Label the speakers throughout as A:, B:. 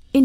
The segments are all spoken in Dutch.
A: verscheen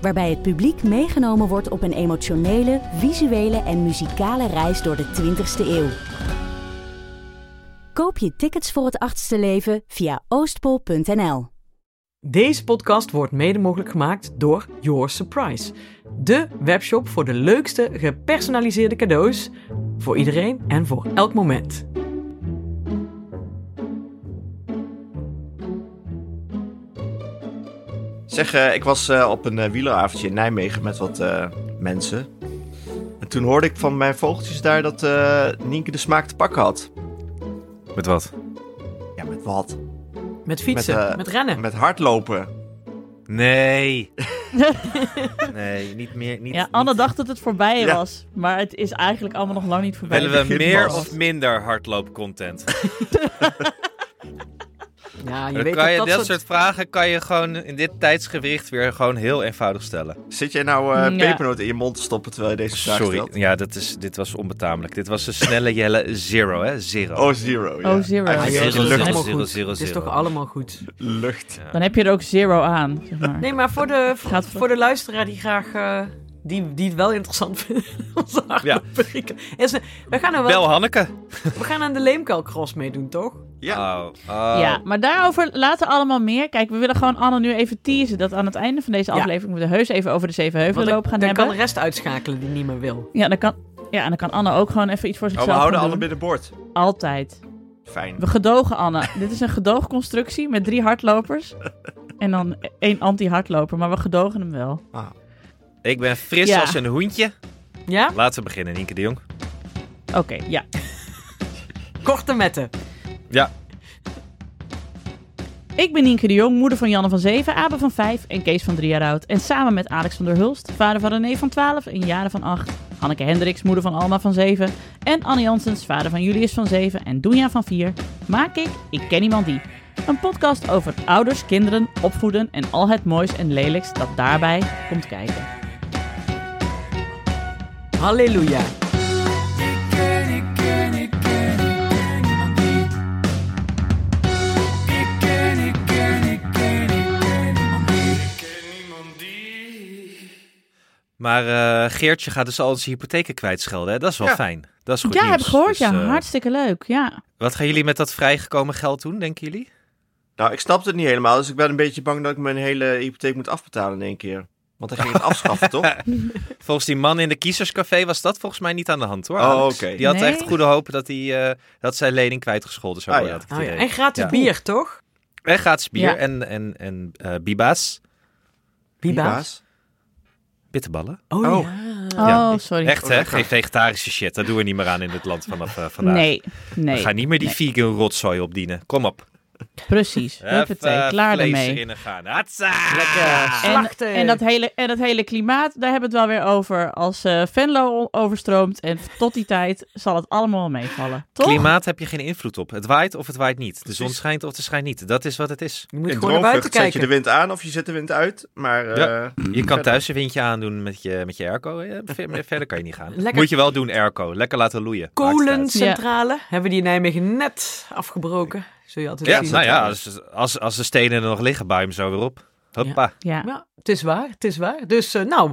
A: Waarbij het publiek meegenomen wordt op een emotionele, visuele en muzikale reis door de 20ste eeuw. Koop je tickets voor het achtste leven via oostpol.nl.
B: Deze podcast wordt mede mogelijk gemaakt door Your Surprise. De webshop voor de leukste gepersonaliseerde cadeaus. Voor iedereen en voor elk moment.
C: Zeg, eh, ik was eh, op een eh, wieleravondje in Nijmegen met wat eh, mensen. En toen hoorde ik van mijn vogeltjes daar dat eh, Nienke de smaak te pakken had.
D: Met wat?
C: Ja, met wat?
B: Met fietsen, met,
C: eh,
B: rennen.
C: Met hardlopen.
D: Nee. nee, niet meer. Niet,
E: Ja, Anne
D: niet-
E: dacht dat het voorbij
C: Ja.
E: was, maar het is eigenlijk allemaal nog lang niet voorbij.
D: Willen we
C: begin
D: meer
C: was.
D: of minder hardloopcontent?
B: Ja, je
D: Dan
B: weet
D: kan je
B: dat
D: dat,
B: dat
D: soort... vragen kan je gewoon in dit tijdsgewicht weer gewoon heel eenvoudig stellen.
C: Zit jij nou eh
E: Ja.
C: pepernoot in je mond te stoppen terwijl je deze vraag
D: Sorry,
C: stelt?
D: ja, dat is, dit was onbetamelijk. Dit was een snelle jelle zero, hè? Zero.
C: Oh, zero. Ja.
E: Oh, zero.
C: Eigenlijk
B: Ah,
D: Zero,
C: is
B: joh,
C: het
B: het is
D: zero,
C: lucht,
B: allemaal
D: zero,
B: goed.
D: zero,
B: Het is
D: zero.
B: toch allemaal goed.
C: lucht.
E: Dan heb je er ook zero aan, zeg maar.
B: Nee, maar voor de, voor,
E: Gaat-
B: voor de luisteraar die graag... eh, die, die het wel interessant vinden. Onze
D: Ja.
B: hardlooprubrieken. Is, eh, we, gaan er wel,
D: Bel Hanneke.
B: we gaan aan de Leemkuilcross meedoen, toch?
C: Ja.
D: Oh, oh.
E: Ja, maar daarover later allemaal meer. Kijk, we willen gewoon Anne nu even teasen dat aan het einde van deze
B: Ja.
E: aflevering we de heus even over
B: Want
E: de Zevenheuvelenloop
B: dan,
E: gaan
B: dan
E: hebben.
B: kan de rest uitschakelen die niet meer wil.
E: Ja, dan kan, ja, en dan kan Anne ook gewoon even iets voor
C: Oh,
E: zichzelf
C: we houden
E: gaan
C: alle
E: doen.
C: binnenboord.
E: Altijd.
C: Fijn.
E: We gedogen Anne. Dit is een gedoogconstructie met drie hardlopers en dan één anti-hardloper, maar we gedogen hem wel.
D: Ik ben fris
E: Ja.
D: als een hoentje.
B: Ja?
D: Laten we beginnen, Nienke de Jong.
E: Oké, ja.
B: Korte metten.
D: Ja,
E: Ik ben Nienke de Jong, moeder van Janne van 7, Abe van 5 en Kees van 3 jaar oud. En samen met Alex van der Hulst, vader van René van 12 en Jaren van 8. Hanneke Hendricks, moeder van Alma van 7. En Anne Jansens, vader van Julius van 7 en Doenja van 4. Maak ik Ik Ken Iemand Die. Een podcast over ouders, kinderen, opvoeden en al het moois en lelijks dat daarbij komt kijken.
B: Halleluja.
D: maar eh, Geertje gaat dus al zijn hypotheken kwijtschelden. Hè? Dat is wel
C: Ja.
D: fijn. Dat is goed
E: ja,
D: nieuws.
E: heb ik gehoord.
D: Dus,
E: ja,
D: eh,
E: hartstikke leuk. Ja.
D: Wat gaan jullie met dat vrijgekomen geld doen, denken jullie?
C: Nou, ik snap het niet helemaal, dus ik ben een beetje bang dat ik mijn hele hypotheek moet afbetalen in één keer. Want hij ging het afschaffen, toch?
D: Volgens die man in de kiezerscafé was dat volgens mij niet aan de hand hoor.
C: Oh,
D: Alex.
C: oké.
D: Die had
E: Nee.
D: echt goede hoop dat, hij, eh, dat zijn lening kwijtgescholden zou
C: Ah,
D: worden.
C: ja.
D: had ik het
B: Oh ja,
D: idee.
B: En gratis
D: Ja.
B: bier, toch?
D: En gratis bier
E: Ja.
D: en, en, en eh, biba's,
B: Biba's.
D: bitterballen.
B: Oh,
C: Oh.
B: ja.
D: Ja.
E: Oh, sorry.
D: Echt
C: Oh,
D: hè,
C: lekker.
D: geen vegetarische shit. Dat doen we niet meer aan in dit land vanaf eh, vandaag.
E: Nee,
D: We
E: nee.
D: gaan niet meer die vegan rotzooi opdienen. Kom op.
E: Precies. Huppatee,
D: Even
E: klaar
D: vlees
E: ermee.
D: erin gaan. Hatsa!
B: Lekker.
E: En,
B: Slachten.
E: en, dat hele, en dat hele klimaat, daar hebben we het wel weer over. Als eh Venlo o- overstroomt en tot die tijd zal het allemaal meevallen. Toch?
D: Klimaat heb je geen invloed op. Het waait of het waait niet. De zon
C: Precies.
D: schijnt of de schijnt niet. Dat is wat het is.
B: Je moet
C: In
B: gewoon naar buiten
C: Droomvlucht zet
B: kijken.
C: je de wind aan of je zet de wind uit, maar... eh,
D: Ja. Je kan thuis een windje aandoen met je, met je airco. Ja, ver- Verder kan je niet gaan.
B: Lekker-
D: Moet je wel doen, airco. Lekker laten loeien. Maakt het uit.
B: Kolencentrale. Hebben die in Nijmegen net afgebroken. Zul je altijd
D: Ja,
B: zien.
D: nou ja, als, als, als de stenen er nog liggen, buim hem zo weer op. Hoppa.
E: Ja.
B: Ja, het is waar, het is waar. Dus eh, nou,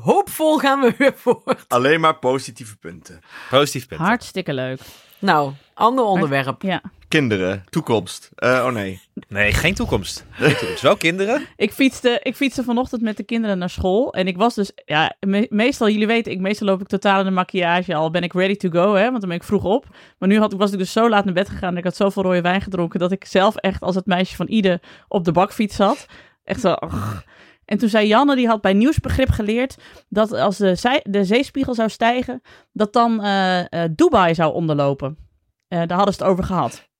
B: hoopvol gaan we weer voort.
C: Alleen maar positieve punten.
D: Positief punt.
E: Hartstikke leuk.
B: Nou, ander onderwerp.
E: Ja.
C: Kinderen, toekomst. Eh, oh nee.
D: Nee, geen toekomst. Geen toekomst. Wel kinderen.
E: Ik fietste, ik fietste vanochtend met de kinderen naar school. En ik was dus, ja, me- meestal, jullie weten, ik, meestal loop ik totaal in de maquillage al. Ben ik ready to go, hè? Want dan ben ik vroeg op. Maar nu had, was ik dus zo laat naar bed gegaan. En ik had zoveel rode wijn gedronken. Dat ik zelf echt als het meisje van Ide op de bakfiets zat. Echt zo. ugh. En toen zei Janne, die had bij nieuwsbegrip geleerd. dat als de, zij, de zeespiegel zou stijgen. dat dan eh, eh, Dubai zou onderlopen. Eh, daar hadden ze het over gehad.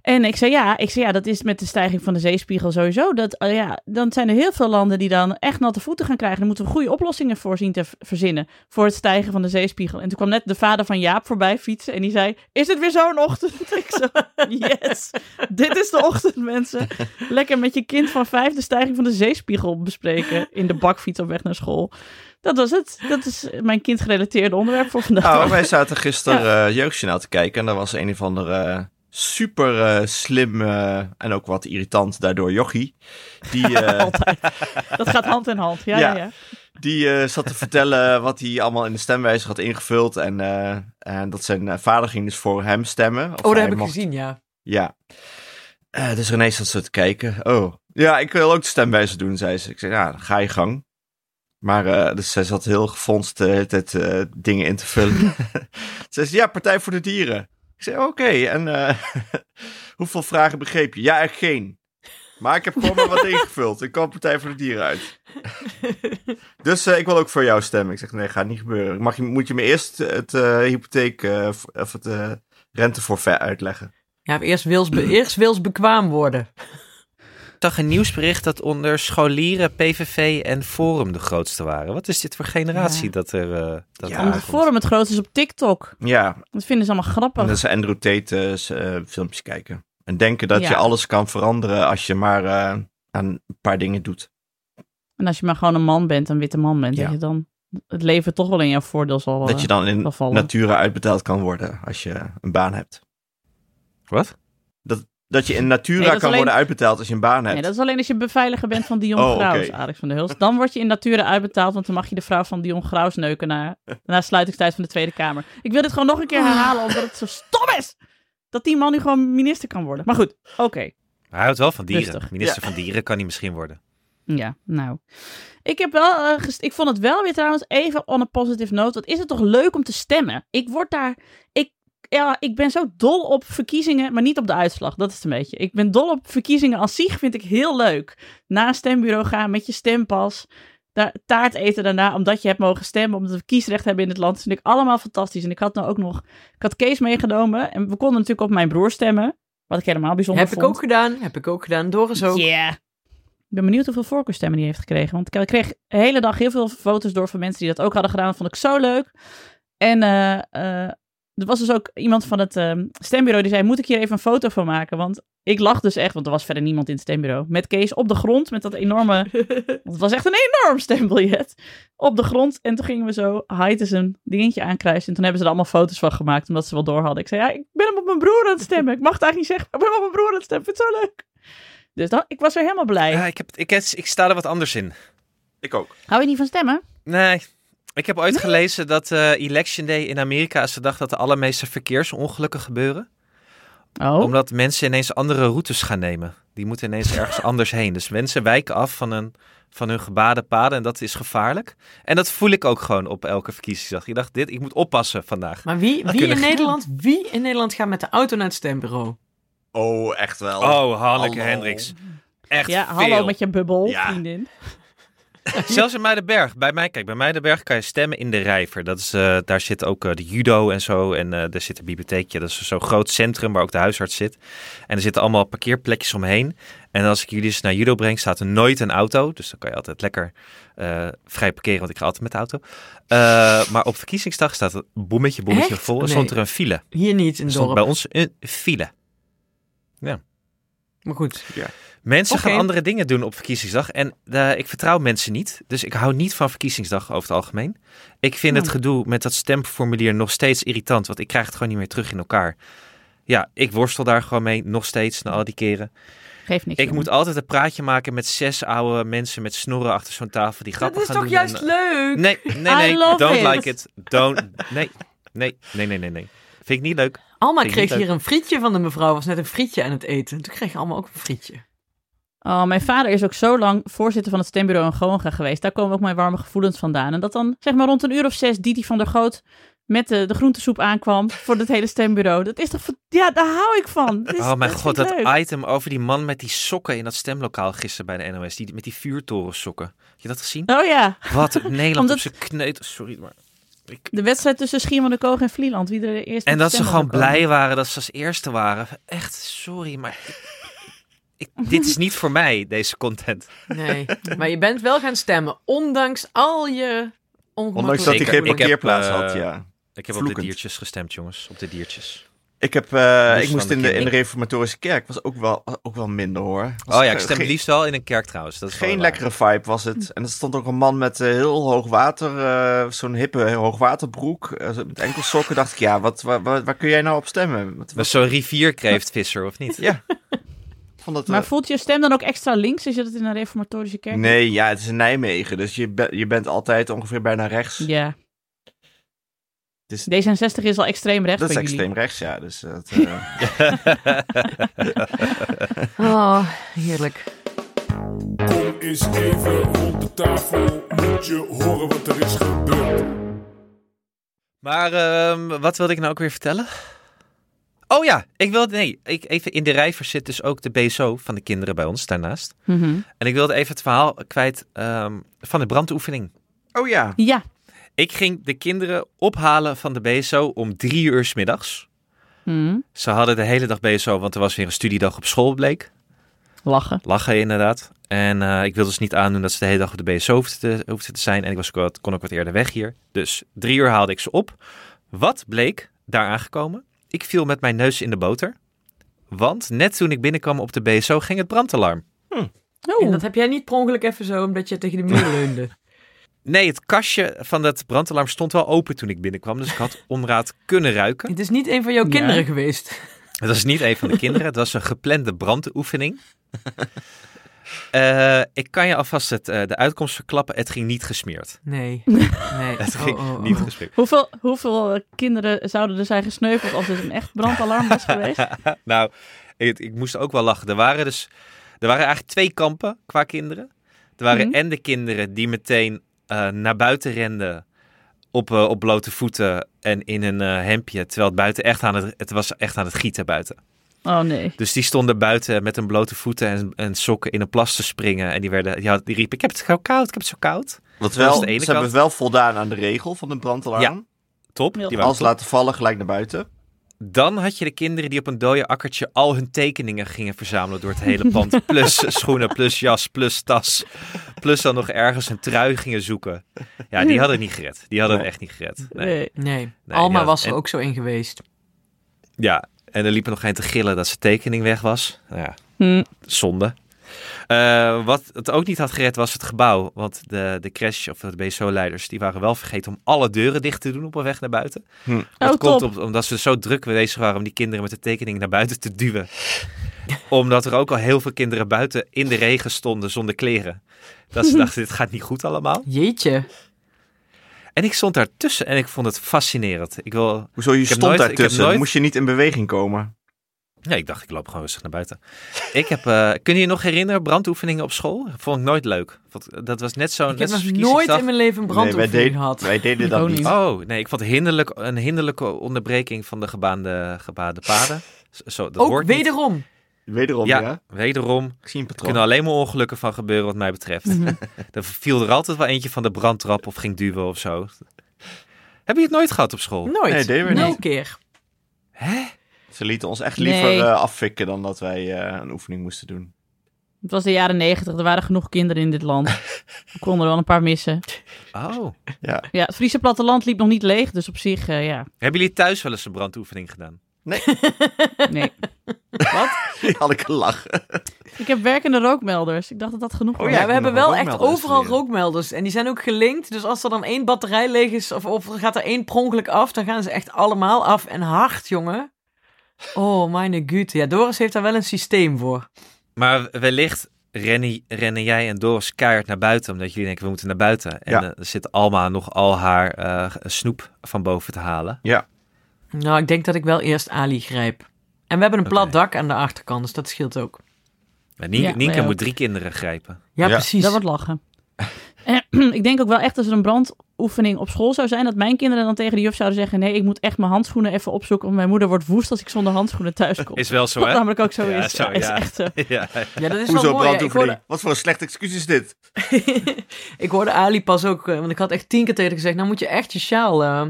E: En ik zei ja, ik zei ja, dat is met de stijging van de zeespiegel sowieso. Dat, eh, ja, dan zijn er heel veel landen die dan echt natte voeten gaan krijgen. Dan moeten we goede oplossingen voor zien te v- verzinnen voor het stijgen van de zeespiegel. En toen kwam net de vader van Jaap voorbij fietsen en die zei: Is het weer zo'n ochtend? ik zo, yes, dit is de ochtend, mensen. Lekker met je kind van vijf de stijging van de zeespiegel bespreken in de bakfiets op weg naar school. Dat was het. Dat is mijn kindgerelateerde onderwerp voor vandaag.
C: Nou, wij zaten gisteren eh Jeugdjournaal te kijken en daar was een of andere eh, super eh, slim eh, en ook wat irritant daardoor jochie. Die, eh,
E: Altijd. Dat gaat hand in hand. Ja,
C: Ja.
E: ja. ja,
C: die eh, zat te vertellen wat hij allemaal in de stemwijzer had ingevuld en, eh, en dat zijn eh, vader ging dus voor hem stemmen. Of
B: Oh, dat
C: hij
B: heb ik
C: mocht-
B: gezien, ja.
C: Ja. Eh, dus René zat zo te kijken. Oh, ja, ik wil ook de stemwijzer doen, zei ze. Ik zei, ja, dan ga je gang. Maar eh, dus zij zat heel gefronst de hele tijd eh, dingen in te vullen. ze zei, ja, Partij voor de Dieren. Ik zei, oké, en eh, hoeveel vragen begreep je? Ja, er geen. Maar ik heb gewoon maar wat ingevuld. Ik kwam Partij voor de Dieren uit. dus eh, ik wil ook voor jou stemmen. Ik zeg, nee, gaat niet gebeuren. Mag je, moet je me eerst het eh, hypotheek eh, v- of het eh renteforfait uitleggen?
B: Ja, eerst wils, be- eerst wils bekwaam worden.
D: Ik zag een nieuwsbericht dat onder scholieren, PVV en Forum de grootste waren. Wat is dit voor generatie
B: Ja.
D: dat er eh dat
C: Ja.
D: er
E: Omdat
D: aankomt?
E: Forum het grootste is op TikTok.
C: Ja,
E: Dat vinden ze allemaal grappig.
C: en dat is Andrew Tate eh, s- eh, filmpjes kijken. En denken dat
E: Ja.
C: je alles kan veranderen als je maar eh, aan een paar dingen doet.
E: En als je maar gewoon een man bent, een witte man bent,
C: Ja.
E: dat je dan het leven toch wel in jouw voordeel zal eh,
C: dat je dan in
E: wel vallen.
C: natura uitbetaald kan worden als je een baan hebt.
D: Wat?
C: Dat je in natura
E: Nee, dat is
C: kan
E: alleen-
C: worden uitbetaald als je een baan hebt.
E: Nee, dat is alleen als je beveiliger bent van Dion
C: Oh, oké.
E: Graus, Alex van der Hulst. Dan word je in nature uitbetaald, want dan mag je de vrouw van Dion Graus neuken na, na sluitingstijd van de Tweede Kamer. Ik wil dit gewoon nog een keer herhalen, omdat het zo stom is dat die man nu gewoon minister kan worden. Maar goed, oké.
D: Maar Hij houdt wel van dieren.
E: Rustig.
D: Minister van Dieren kan hij misschien worden.
E: Ja, nou. Ik, heb wel, eh, gest- ik vond het wel weer trouwens even on a positive note. Wat is het toch leuk om te stemmen? Ik word daar. Ik, ja, ik ben zo dol op verkiezingen, maar niet op de uitslag. Dat is het een beetje. Ik ben dol op verkiezingen als zich, vind ik heel leuk. Na een stembureau gaan met je stempas. Daar, taart eten daarna, omdat je hebt mogen stemmen, omdat we kiesrecht hebben in het land. Dat vind ik allemaal fantastisch. En ik had nou ook nog. Ik had Kees meegenomen. En we konden natuurlijk op mijn broer stemmen. Wat ik helemaal bijzonder
B: Heb
E: vond.
B: ik ook gedaan, heb ik ook gedaan. Doris ook.
E: Ja. Ik ben benieuwd hoeveel voorkeurstemmen die heeft gekregen. Want ik kreeg de hele dag heel veel foto's door van mensen die dat ook hadden gedaan. Dat vond ik zo leuk. En eh, eh, er was dus ook iemand van het ehm, stembureau die zei: Moet ik hier even een foto van maken? Want ik lag dus echt, want er was verder niemand in het stembureau. Met Kees op de grond met dat enorme. want het was echt een enorm stembiljet. Op de grond. En toen gingen we zo Heites een dingetje aankruisen. En toen hebben ze er allemaal foto's van gemaakt, omdat ze wel door hadden. Ik zei: Ja, ik ben hem op mijn broer aan het stemmen. Ik mag het eigenlijk niet zeggen, maar ik ben hem op mijn broer aan het stemmen. Ik vind het zo leuk. Dus dan, ik was er helemaal blij.
D: Ja, ik, heb, ik, heb- ik sta er wat anders in.
C: Ik ook.
E: Hou je niet van stemmen?
D: Nee. Ik heb ooit gelezen dat eh, Election Day in Amerika is de dag dat de allermeeste verkeersongelukken gebeuren.
E: Oh.
D: Omdat mensen ineens andere routes gaan nemen. Die moeten ineens ergens anders heen. Dus mensen wijken af van hun, van hun gebaden paden en dat is gevaarlijk. En dat voel ik ook gewoon op elke verkiezingsdag. Ik dacht, dit, ik moet oppassen vandaag.
B: Maar wie, wie,
D: kunnen
B: in
D: gaan.
B: Nederland, wie in Nederland gaat met de auto naar het stembureau?
C: Oh, echt wel.
D: Oh, Hanneke
C: Hallo.
D: Hendricks. Echt
E: ja,
D: veel.
E: hallo met je bubbel,
C: Ja.
E: vriendin.
D: Zelfs in Muidenberg. Bij mij, kijk, bij Muidenberg kan je stemmen in de Rijver. Dat is, eh, daar zit ook eh, de judo en zo. En eh, daar zit een bibliotheekje. Dat is zo'n groot centrum waar ook de huisarts zit. En er zitten allemaal parkeerplekjes omheen. En als ik jullie eens naar judo breng, staat er nooit een auto. Dus dan kan je altijd lekker eh, vrij parkeren, want ik ga altijd met de auto. Eh, maar op verkiezingsdag staat het bommetje, bommetje
B: Echt?
D: vol. En
B: Nee.
D: stond er een file.
B: Hier niet in
D: Er
B: het
D: stond
B: dorp.
D: bij ons een file.
B: Maar goed.
D: Mensen gaan
B: Oké.
D: andere dingen doen op verkiezingsdag. En eh, ik vertrouw mensen niet. Dus ik hou niet van verkiezingsdag over het algemeen. Ik vind
E: Nou.
D: het gedoe met dat stemformulier nog steeds irritant. Want ik krijg het gewoon niet meer terug in elkaar. Ja, ik worstel daar gewoon mee. Nog steeds, na al die keren.
E: Geef
D: Ik
E: niks. jongen.
D: moet altijd een praatje maken met zes oude mensen met snorren achter zo'n tafel. Die
B: Dat
D: grappen
B: is
D: gaan
B: toch
D: doen
B: juist
D: en- eh,
B: leuk?
D: Nee, nee, nee.
E: I love
D: Don't
E: it.
D: like it. Don't. Nee, nee, nee, nee, nee. nee. Vind ik niet leuk.
B: Alma
D: Vind ik
B: kreeg
D: niet leuk.
B: hier een frietje van de mevrouw. Was net een frietje aan het eten. Toen kreeg Alma ook een frietje.
E: Oh, mijn vader is ook zo lang voorzitter van het stembureau in Groningen geweest. Daar komen ook mijn warme gevoelens vandaan. En dat dan, zeg maar, rond een uur of zes Didi van der Goot met de, de groentesoep aankwam voor het hele stembureau. Dat is toch... fa- Ja, daar hou ik van. Dat is-
D: oh mijn
E: dat
D: god,
E: vind
D: dat
E: ik leuk.
D: item over die man met die sokken in dat stemlokaal gisteren bij de NOS. Die, met die vuurtorensokken. Heb je dat gezien?
E: Oh ja.
D: Wat Nederland
E: Omdat-
D: op zijn kneut... Sorry, maar... Ik-
E: De wedstrijd tussen Schiermonnikoog en Vlieland. Wie er eerst
D: En
E: met
D: dat
E: de
D: ze
E: stemmen
D: gewoon
E: zou komen.
D: blij waren dat ze als eerste waren. Echt, sorry, maar ik, ik- dit is niet voor mij, deze content.
B: Nee, maar je bent wel gaan stemmen, ondanks al je
C: Ondanks dat
B: ongemakkelijkheden.
C: hij
D: Zeker.
C: geen
D: Ik heb,
C: parkeerplaats
D: eh,
C: had, ja.
D: Ik heb op
C: Vloekend.
D: de diertjes gestemd, jongens. Op de diertjes.
C: Ik, heb, eh,
D: liefst
C: ik moest
D: dus van de
C: in de, in de
D: kinderen.
C: reformatorische kerk. Was ook wel, was ook wel minder hoor. Was
D: Oh ja,
C: ge-
D: ik stem
C: geen-
D: het liefst wel in een kerk trouwens. Dat is wel
C: Geen
D: waar.
C: lekkere vibe was het. En er stond ook een man met eh, heel hoog water, eh, zo'n hippe hoogwaterbroek, eh, zo- met enkelsokken. Dacht ik, ja, wat, waar, waar, waar kun jij nou op stemmen? Wat,
D: Dat
C: wat-
D: is zo'n rivierkreeftvisser, of niet?
C: ja. Ik Vond het,
E: Maar
C: eh,
E: voelt je stem dan ook extra links als je dat in een reformatorische kerk doet?
C: nee, ja, het is in Nijmegen, dus je, be- je bent altijd ongeveer bijna rechts.
E: Ja.
C: Dus-
E: D66 is al extreem rechts
C: dat is
E: bij
C: extreem
E: jullie.
C: rechts, ja. Dus dat, eh,
B: Oh, heerlijk.
F: Kom eens even rond de tafel, moet je horen wat er is gebeurd.
D: Maar ehm, wat wilde ik nou ook weer vertellen? Oh ja, ik wilde. Nee, ik, even in de rijver zit dus ook de BSO van de kinderen bij ons daarnaast.
E: Mhm.
D: En ik wilde even het verhaal kwijt ehm, van de brandoefening.
C: oh ja.
E: Ja.
D: Ik ging de kinderen ophalen van de BSO om drie uur 's middags.
E: Mhm.
D: Ze hadden de hele dag BSO, want er was weer een studiedag op school, bleek.
E: Lachen.
D: Lachen inderdaad. En eh, ik wilde dus niet aandoen dat ze de hele dag op de BSO hoefden te, hoefden te zijn. En ik was ook wat, kon ook wat eerder weg hier. Dus drie uur haalde ik ze op. Wat bleek daar aangekomen? Ik viel met mijn neus in de boter. Want net toen ik binnenkwam op de BSO ging het brandalarm.
B: En
E: Oh.
B: dat heb jij niet per ongeluk even zo, omdat je tegen de muur leunde.
D: Nee, het kastje van dat brandalarm stond wel open toen ik binnenkwam. Dus ik had onraad kunnen ruiken.
B: Het is niet een van jouw
E: Ja.
B: kinderen geweest.
D: Het was niet een van de kinderen. Het was een geplande brandoefening. Eh, ik kan je alvast het, eh, de uitkomst verklappen. Het ging niet gesmeerd.
B: Nee, nee.
D: Het
B: Oh,
D: ging
B: oh, oh.
D: niet gesmeerd.
E: Hoeveel, hoeveel eh, kinderen zouden er zijn gesneuveld als dit een echt brandalarm was geweest?
D: Nou, ik, ik moest ook wel lachen. Er waren dus er waren eigenlijk twee kampen qua kinderen. Er waren
E: Mhm.
D: en de kinderen die meteen eh, naar buiten renden op, eh, op blote voeten en in een eh, hemdje. Terwijl het buiten echt aan het, het was echt aan het gieten buiten.
E: Oh nee.
D: Dus die stonden buiten met hun blote voeten en, en sokken in een plas te springen. En die, werden, die, had- die riepen, ik heb het zo koud, ik heb het zo koud.
C: Wat
D: Dat
C: wel,
D: is
C: ze
D: de ene
C: hebben
D: kant.
C: wel voldaan aan de regel van de brandalarm.
D: Top.
E: Ja.
D: Die waren
C: Als
D: top.
C: laten vallen, gelijk naar buiten.
D: Dan had je de kinderen die op een dode akkertje al hun tekeningen gingen verzamelen door het hele pand. Plus schoenen, plus jas, plus tas. Plus dan nog ergens een trui gingen zoeken. Ja, die hadden het niet gered. Die hadden het echt niet gered. Nee.
E: Nee.
B: Nee,
D: die
B: Alma
D: had-
B: was er
D: en-
B: ook zo in geweest.
D: Ja, en er liep er nog geen te gillen dat zijn tekening weg was. Nou ja,
E: Hm.
D: Zonde. Eh, wat het ook niet had gered was het gebouw. Want de, de crash of de BSO-leiders die waren wel vergeten om alle deuren dicht te doen op een weg naar buiten.
C: Hm.
D: Dat
E: Oh,
D: komt
E: top.
D: op- omdat ze zo druk bezig waren om die kinderen met de tekening naar buiten te duwen. omdat er ook al heel veel kinderen buiten in de regen stonden zonder kleren. Dat ze dachten, dit gaat niet goed allemaal. Oh,
B: Jeetje.
D: En ik stond daartussen en ik vond het fascinerend. Ik, wil,
C: Hoezo, je
D: heb
C: stond
D: nooit- ik heb
C: daartussen.
D: nooit-
C: Moest je niet in beweging komen?
D: nee, ik dacht, ik loop gewoon rustig naar buiten. ik heb, eh, kun je je nog herinneren, brandoefeningen op school? Vond ik nooit leuk. Vond- Dat was net zo'n...
B: Ik heb
D: net
B: nog
D: zo'n
B: nooit
D: verkiezingsdag.
B: in mijn leven een brandoefening
C: wij, deden-
B: gehad.
C: wij deden
E: Ik
C: dat
E: ook
C: niet.
E: niet.
D: Oh, nee, ik vond hinderlijk, een hinderlijke onderbreking van de gebaande, gebaande paden. Zo- Zo, dat
B: Ook
D: hoort niet.
B: wederom.
C: Wederom,
D: Ja,
C: ja.
D: wederom. Er
C: Ik zie een patroon.
D: kunnen alleen maar ongelukken van gebeuren wat mij betreft.
B: Mhm.
D: er viel er altijd wel eentje van de brandtrap of ging duwen of zo. Heb je het nooit gehad op school?
B: Nooit.
C: Nee, deden we
B: Nul
C: niet.
B: keer.
C: Ze lieten ons echt liever
E: Nee.
C: eh, affikken dan dat wij eh, een oefening moesten doen.
E: Het was de jaren negentig. Er waren genoeg kinderen in dit land. We konden er wel een paar missen.
D: Oh.
E: Ja, het Friese platteland liep nog niet leeg. Dus op zich, eh, ja.
D: Hebben jullie thuis wel eens een brandoefening gedaan?
E: Nee.
C: Die had ik gelachen.
E: Ik heb werkende rookmelders. Ik dacht dat dat genoeg was.
C: Oh
B: ja, we
C: ik moet
B: hebben
C: nog
B: wel
C: wel
B: echt
C: rookmelders
B: overal
C: leren.
B: rookmelders. En die zijn ook gelinkt. Dus als er dan één batterij leeg is of, of er gaat er één per ongeluk af, dan gaan ze echt allemaal af. En hard, jongen. Oh, mijn god. Ja, Doris heeft daar wel een systeem voor.
D: Maar wellicht rennen, rennen jij en Doris keihard naar buiten, omdat jullie denken we moeten naar buiten. En
C: Ja.
D: eh, er zit Alma nog al haar eh, snoep van boven te halen.
B: Nou, ik denk dat ik wel eerst Ali grijp. En we hebben een plat
D: Oké.
B: dak aan de achterkant, dus dat scheelt ook.
D: Maar Nienke,
E: Ja,
D: Nienke
E: wij ook.
D: moet drie kinderen grijpen.
B: Ja,
C: Ja.
B: precies.
E: Dat wordt lachen. Eh, ik denk ook wel echt als er een brandoefening op school zou zijn, dat mijn kinderen dan tegen de juf zouden zeggen: Nee, ik moet echt mijn handschoenen even opzoeken. Want mijn moeder wordt woest als ik zonder handschoenen thuis kom.
D: Is wel zo,
E: Wat
D: hè?
E: namelijk ook zo
D: Ja,
E: is.
D: zo,
E: Ja, is
D: ja.
E: echt zo.
D: Ja,
B: Ja, dat is wel
C: Hoezo
B: mooi. hè. Ik
C: brandoefening?
B: hoorde,
C: Wat voor een slecht excuus is dit?
B: ik hoorde Ali pas ook, eh, want ik had echt tien keer tegen haar gezegd, nou moet je echt je sjaal eh,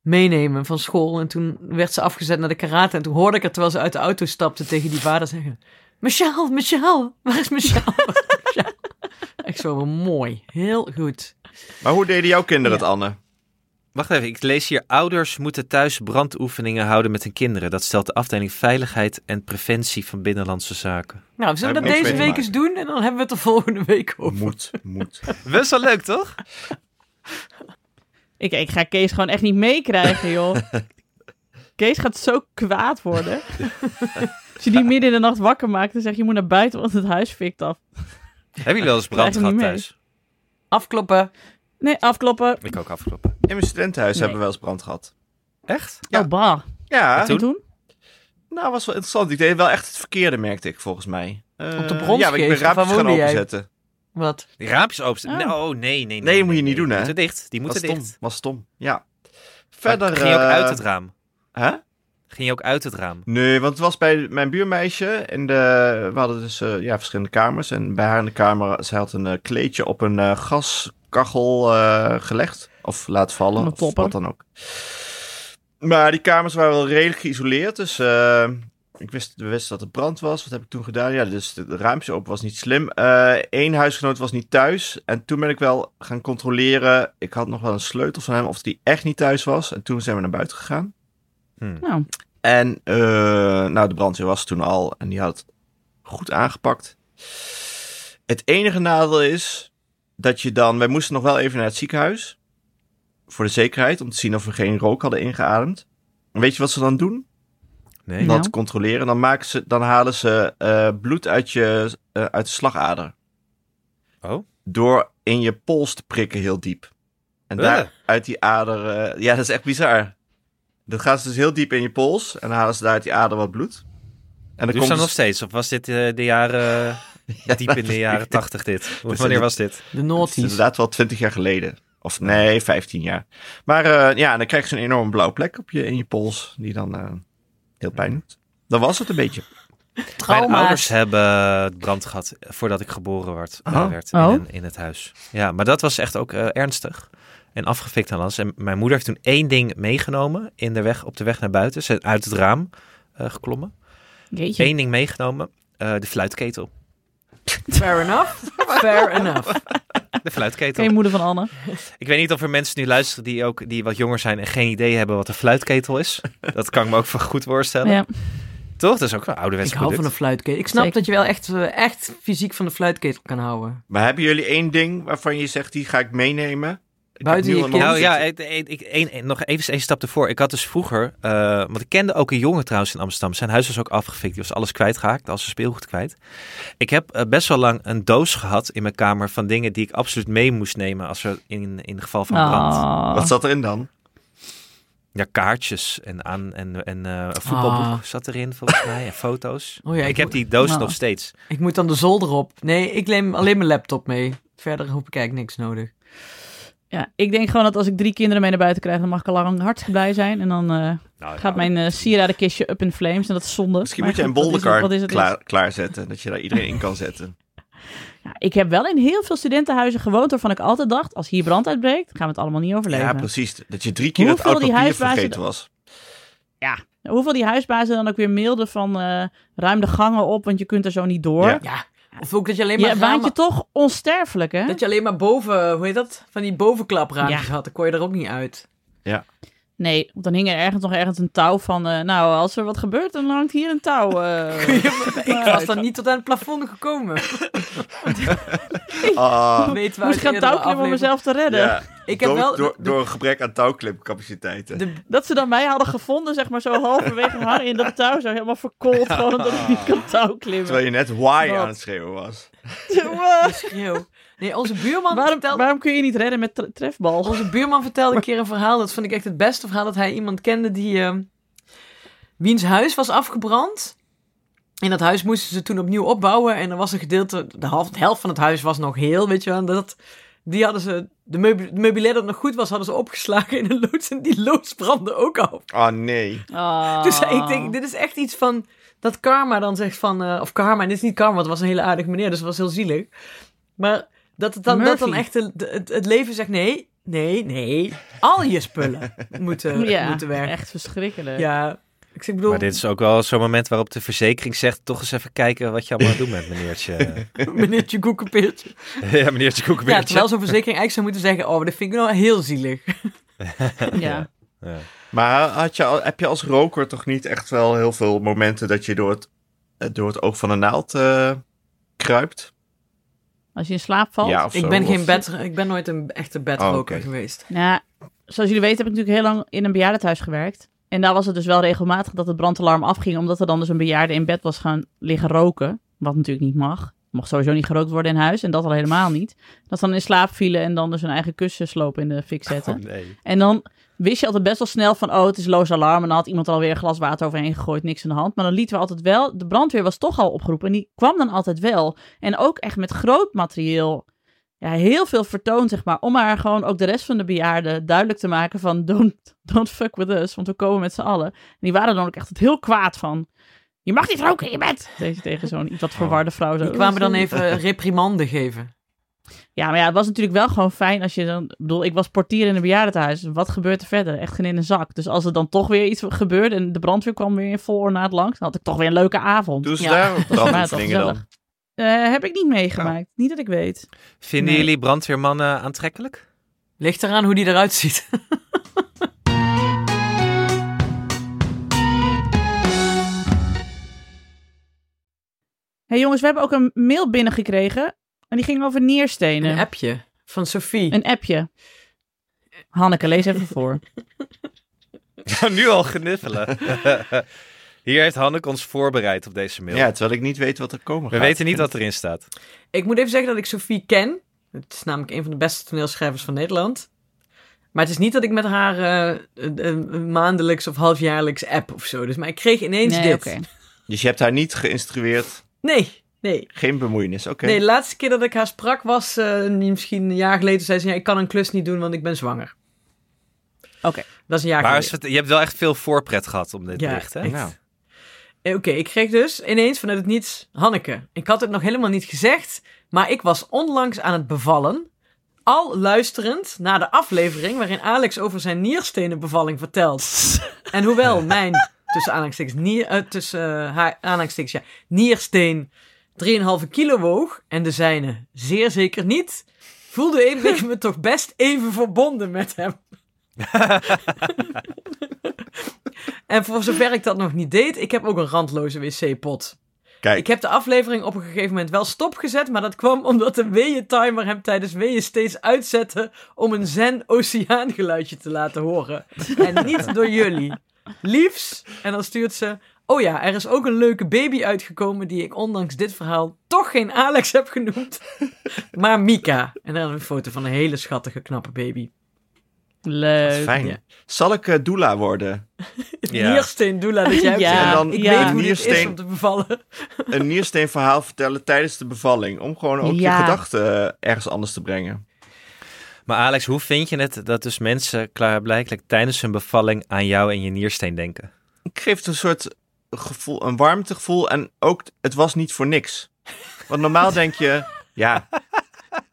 B: meenemen van school. En toen werd ze afgezet naar de karate en toen hoorde ik haar terwijl ze uit de auto stapte tegen die vader zeggen, mijn sjaal, mijn sjaal, waar is mijn sjaal? Waar is mijn sjaal?" echt zo wel mooi, heel goed.
C: Maar hoe deden jouw kinderen het, Anne?
D: Wacht even, ik lees hier. Ouders moeten thuis brandoefeningen houden met hun kinderen. Dat stelt de afdeling Veiligheid en Preventie van Binnenlandse Zaken.
B: Nou, zullen we dat
C: Daar heb ik
B: deze
C: niks mee
B: week
C: te
B: eens doen en dan hebben we het de volgende week over.
C: Moet, moet.
D: Best wel leuk, toch?
E: Ik, ik ga Kees gewoon echt niet meekrijgen, joh. Kees gaat zo kwaad worden. Als je die midden in de nacht wakker maakt en zegt je moet naar buiten, want het huis fikt af.
D: Hebben jullie wel eens brand
E: Krijg je niet
D: gehad
E: mee.
D: thuis?
B: Afkloppen.
E: Nee, afkloppen.
D: Ik ook afgelopen.
C: In mijn studentenhuis
E: Nee.
C: hebben we wel eens brand gehad.
D: Echt?
C: Ja.
E: Oh, bah.
C: Ja,
E: En toen?
C: nou was wel interessant. Ik deed wel echt het verkeerde, merkte ik volgens mij. Eh,
B: Op de bronsgeest,
C: Ja, maar ik ben
B: of waar
C: raampjes gaan
B: woonde jij?
C: openzetten.
B: Wat?
D: Die raampjes open.
E: Oh.
D: Nee, oh, nee, nee, nee.
C: moet je niet doen, hè?
D: Die moeten dicht. Die
C: Was
D: moeten
C: stom,
D: dicht.
C: was stom. Ja. Verder...
D: Verder, ging je ook
C: eh,
D: uit het raam?
C: Hè?
D: Ging je ook uit het raam?
C: Nee, want het was bij mijn buurmeisje. In de, we hadden dus eh, ja, verschillende kamers. En bij haar in de kamer, zij had een eh, kleedje op een eh, gaskachel eh, gelegd. Of laat vallen,
E: Een
C: of
E: topper.
C: wat dan ook. Maar die kamers waren wel redelijk geïsoleerd. Dus eh, ik wist, we wisten dat er brand was. Wat heb ik toen gedaan? Ja, dus het raampje open was niet slim. Eén huisgenoot was niet thuis. En toen ben ik wel gaan controleren. Ik had nog wel een sleutel van hem, of die echt niet thuis was. En toen zijn we naar buiten gegaan.
E: Nou,
C: En eh, nou, de brandweer was toen al en die had het goed aangepakt. Het enige nadeel is dat je dan... Wij moesten nog wel even naar het ziekenhuis. Voor de zekerheid, om te zien of we geen rook hadden ingeademd. En weet je wat ze dan doen?
D: Nee.
E: Nou.
C: Dat controleren. Dan, maken ze, dan halen ze eh, bloed uit, je, eh, uit de slagader.
D: Oh.
C: Door in je pols te prikken heel diep. En
D: Eh.
C: daar uit die ader... eh, ja, dat is echt bizar. Dat gaan ze dus heel diep in je pols. En dan halen ze daar uit die ader wat bloed. En dan
D: Doe ze dat nog
C: dus-
D: steeds? Of was dit eh, de jaren...
C: Ja,
D: diep in
C: dat
D: de
C: is-
D: jaren tachtig dit?
C: Dus
D: Wanneer
C: dat-
D: was dit?
B: De
C: Dat is
B: Naughties.
C: inderdaad wel twintig jaar geleden. Of nee, 15 jaar. Maar eh, ja, en dan krijg je zo'n enorme blauwe plek op je, in je pols. Die dan eh, heel pijn doet. Dat was het een beetje.
D: Mijn ouders
B: Trauma's.
D: hebben brand gehad voordat ik geboren werd, eh,
C: Oh.
D: werd
E: Oh.
D: in, in het huis. Ja, maar dat was echt ook eh, ernstig. En afgefikt en alles. En mijn moeder heeft toen één ding meegenomen in de weg, op de weg naar buiten. Ze is uit het raam eh, geklommen.
E: jeetje.
D: Eén ding meegenomen, eh, de fluitketel.
B: Fair enough. Fair enough.
D: De fluitketel.
E: Geen moeder van Anne.
D: Ik weet niet of er mensen nu luisteren die, ook, die wat jonger zijn en geen idee hebben wat een fluitketel is. Dat kan ik me ook van goed voorstellen.
E: Ja.
D: Toch? Dat is ook een ouderwets
B: Ik hou van een
D: product.
B: fluitketel. Ik snap
E: Zeker.
B: dat je wel echt, eh, echt fysiek van de fluitketel kan houden.
C: Maar hebben jullie één ding waarvan je zegt, die ga ik meenemen? Ik
B: Buiten
C: heb nu
B: je
C: al
B: kind.
C: een-
D: Nou ja, ik, ik, ik- één- één- nog even een stap ervoor. Ik had dus vroeger, eh, want ik kende ook een jongen trouwens in Amsterdam. Zijn huis was ook afgefikt. Die was alles kwijtgeraakt, al zijn speelgoed kwijt. Ik heb eh, best wel lang een doos gehad in mijn kamer van dingen die ik absoluut mee moest nemen als er in, in het geval van brand.
E: Ah.
C: Wat zat erin dan?
D: Ja, kaartjes en, aan, en, en eh, een voetbalboek
B: Ah.
D: zat erin volgens mij en foto's.
B: Oh ja,
D: ik,
B: ik
D: heb
B: moet-
D: die doos
E: Nou.
D: nog steeds.
B: Ik moet dan de zolder op. Nee, ik neem alleen mijn laptop mee. Verder hoef ik eigenlijk niks nodig.
E: Ja, ik denk gewoon dat als ik drie kinderen mee naar buiten krijg, dan mag ik al lang hartstikke blij zijn. En dan eh,
D: Nou
E: gaat mijn eh, sieradenkistje up in flames en dat is zonde.
C: Misschien
E: Maar
C: moet je een
E: goed, wat is het-
C: bolderkar
E: wat is het-
C: klaar, klaarzetten. Dat je daar iedereen in kan zetten.
E: Ja, ik heb wel in heel veel studentenhuizen gewoond waarvan ik altijd dacht, als hier brand uitbreekt, gaan we het allemaal niet overleven.
C: Ja, precies. Dat je drie keer het
E: Hoeveel
C: oud
E: die
C: papier
E: huisbazen-
C: vergeten was.
E: Hoeveel die huisbazen dan ook weer mailden van eh, ruim de gangen op, want je kunt er zo niet door.
C: Ja.
B: Ja. Of ook dat je alleen maar,
E: Je waant
B: ramen-
E: je toch onsterfelijk, hè?
B: dat je alleen maar boven, hoe heet dat? Van die bovenklapraampjes
E: Ja.
B: had. Dan kon je er ook niet uit.
E: Nee, want dan hing er ergens nog ergens een touw van, eh, nou, als er wat gebeurt, dan hangt hier een touw. eh.
B: ik was dan niet tot aan het plafond gekomen.
C: Ah,
B: Weet waar
E: Oh.
B: het
E: Moest gaan
B: eerdere
E: touwklimmen om
B: aflevering-
E: mezelf te redden.
C: ja.
B: Ik heb
C: door,
B: wel-
C: door,
B: de-
C: door een gebrek aan touwklimcapaciteiten.
B: De,
E: Dat ze dan mij hadden gevonden, zeg maar, zo halverwege hangen in dat touw. Zo helemaal verkoold, gewoon omdat ik niet kan touwklimmen.
C: Terwijl je net why
E: Wat?
C: aan het schreeuwen was.
B: de schreeuw. Nee, onze buurman
E: Waarom,
B: vertelde...
E: waarom kun je niet redden met tre- trefbal?
B: Onze buurman vertelde een keer een verhaal. Dat vond ik echt het beste verhaal. Dat hij iemand kende die. ehm, wiens huis was afgebrand. En dat huis moesten ze toen opnieuw opbouwen. En er was een gedeelte. De, half, de helft van het huis was nog heel, weet je wel. en Dat, Die hadden ze, de meubi- het meubilair dat nog goed was, hadden ze opgeslagen in een loods. En die loods brandde ook af.
C: Oh nee.
E: Oh.
B: Dus ik denk, dit is echt iets van, dat karma dan zegt van, eh, of karma, en dit is niet karma, want het was een hele aardige meneer, dus het was heel zielig. Maar dat, het dan, dat dan
E: Murphy.
B: echt de- de- het, het leven zegt, nee, nee, nee, al je spullen moeten,
E: ja,
B: moeten werken.
E: echt verschrikkelijk.
B: Ja, ik zeg- bedoel...
D: Maar dit is ook wel zo'n moment waarop de verzekering zegt... toch eens even kijken wat je allemaal aan het doen bent, meneertje.
B: meneertje koekenpeertje.
D: ja, meneertje
B: Ja,
D: Koekenbeertje.
B: terwijl zo'n verzekering eigenlijk zou moeten zeggen... oh, maar dat vind ik nou heel zielig.
E: ja.
D: Ja.
C: Maar had je, al- heb je als roker toch niet echt wel heel veel momenten dat je door het, eh, door het oog van een naald eh, kruipt?
E: Als je in slaap valt.
C: Ja, of zo,
B: Ik ben,
C: of-
B: geen bed, ik ben nooit een echte bedroker
C: Oh, oké.
B: geweest.
E: Nou, zoals jullie weten heb ik natuurlijk heel lang in een bejaardentehuis gewerkt. En daar was het dus wel regelmatig dat het brandalarm afging, omdat er dan dus een bejaarde in bed was gaan liggen roken. Wat natuurlijk niet mag. Mocht sowieso niet gerookt worden in huis en dat al helemaal niet. Dat ze dan in slaap vielen en dan dus hun eigen kussensloop in de fik
B: Oh,
E: zetten.
D: nee.
E: En dan wist je altijd best wel snel van, oh, het is loos alarm. En dan had iemand alweer een glas water overheen gegooid, niks aan de hand. Maar dan lieten we altijd wel, de brandweer was toch al opgeroepen. En die kwam dan altijd wel. En ook echt met groot materieel. Ja, heel veel vertoond, zeg maar. Om maar gewoon ook de rest van de bejaarden duidelijk te maken van, don't, don't fuck with us. Want we komen met z'n allen. En die waren dan ook echt heel kwaad van, je mag niet roken in je bed. Tegen, tegen zo'n iets wat verwarde vrouw. Zo,
B: Die kwamen dan
E: "Oh,
B: even reprimanden geven.
E: ja, maar ja, het was natuurlijk wel gewoon fijn als je dan... Ik bedoel, ik was portier in een bejaardentehuis. Wat gebeurt er verder? Echt geen in een zak. Dus als er dan toch weer iets gebeurde en de brandweer kwam weer in vol ornaat langs, dan had ik toch weer een leuke avond.
C: Doen ze
B: Ja.
C: daar ook
E: was wel
C: brandoefeningen dan?
E: Eh, heb ik niet meegemaakt. Niet dat ik weet.
D: Vinden
E: Nee.
D: jullie brandweermannen aantrekkelijk?
B: Ligt eraan hoe die eruit ziet.
E: hey, jongens, we hebben ook een mail binnengekregen. En die ging over neerstenen.
B: Een appje van Sophie.
E: Een appje. Hanneke, lees even voor.
D: Ja, nu al geniffelen. Hier heeft Hanneke ons voorbereid op deze mail.
C: Ja, terwijl ik niet weet wat er komen
D: We
C: gaat.
D: weten niet wat erin staat.
B: Ik moet even zeggen dat ik Sophie ken. Het is namelijk een van de beste toneelschrijvers van Nederland. Maar het is niet dat ik met haar eh, een- een maandelijks of halfjaarlijks app of zo. Dus, maar ik kreeg ineens
E: nee,
B: dit.
E: oké.
C: Dus je hebt haar niet geïnstrueerd.
B: Nee, nee.
C: Geen bemoeienis, oké.
B: Nee, de laatste keer dat ik haar sprak was eh, misschien een jaar geleden. Zei ze, ja, ik kan een klus niet doen, want ik ben zwanger.
E: Oké.
B: Dat is een jaar
D: Maar
B: geleden.
D: is het- je hebt wel echt veel voorpret gehad om dit
B: Ja,
D: bericht, hè?
B: echt.
C: Nou.
B: Eh, Oké, ik kreeg dus ineens vanuit het niets Hanneke. Ik had het nog helemaal niet gezegd, maar ik was onlangs aan het bevallen. Al luisterend naar de aflevering waarin Alex over zijn nierstenenbevalling vertelt. En hoewel mijn, tussen aanhalingstekens, nier, eh, tussen, eh, haar- aanhalingstekens, ja, niersteen 3,5 kilo woog en de zijne zeer zeker niet, voelde ik me toch best even verbonden met hem. En voor zover ik dat nog niet deed, ik heb ook een randloze wc-pot.
C: Kijk,
B: Ik heb de aflevering op een gegeven moment wel stopgezet, maar dat kwam omdat de weeën-timer hem tijdens weeën steeds uitzette om een zen-oceaangeluidje te laten horen. En niet door jullie. Liefs. En dan stuurt ze, oh ja, er is ook een leuke baby uitgekomen die ik ondanks dit verhaal toch geen Alex heb genoemd, maar Mika. En dan een foto van een hele schattige, knappe baby.
E: Leuk.
C: fijn.
B: eh, ja.
C: Zal ik eh, doula worden?
D: Ja.
B: Niersteen doula dat jij hebt
E: Ja,
B: gedaan.
C: en dan
B: Ik
E: ja.
B: weet hoe dit is
C: niersteen-
B: om te bevallen.
C: Een niersteenverhaal vertellen tijdens de bevalling. Om gewoon ook
E: Ja.
C: je gedachten eh, ergens anders te brengen.
D: Maar Alex, hoe vind je het dat dus mensen klaarblijkelijk tijdens hun bevalling aan jou en je niersteen denken?
C: Ik geef het een soort gevoel, een warmtegevoel. En ook, het was niet voor niks. Want normaal denk je, ja,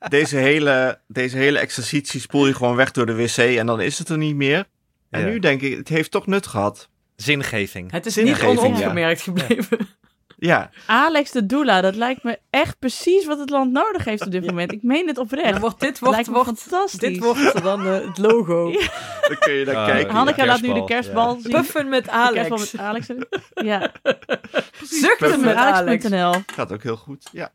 C: deze hele, deze hele exercitie spoel je gewoon weg door de wc en dan is het er niet meer. En
D: Ja.
C: nu denk ik, het heeft toch nut gehad.
D: Zingeving.
B: Het is niet
C: Zingeving,
B: onopgemerkt gebleven.
C: Ja,
E: Alex de Doula, dat lijkt me echt precies wat het land nodig heeft op dit moment. Ik meen het oprecht.
B: Dan wordt dit
E: Het
B: wordt,
E: lijkt me
B: wordt,
E: fantastisch.
B: dit wordt dan eh, het logo.
E: Ja.
C: dan kun je daar
D: Ah,
C: kijken.
D: Hanneke
E: Hanneke
C: ja.
E: laat nu de
D: kerstbal.
E: kerstbal zien.
B: Puffen met
E: De kerstbal
B: Alex.
E: met Alex. erin. Ja,
B: Zuchten
C: Puffen
B: met
E: met
B: Alex.
E: Alex.nl.
C: Gaat ook heel goed, ja.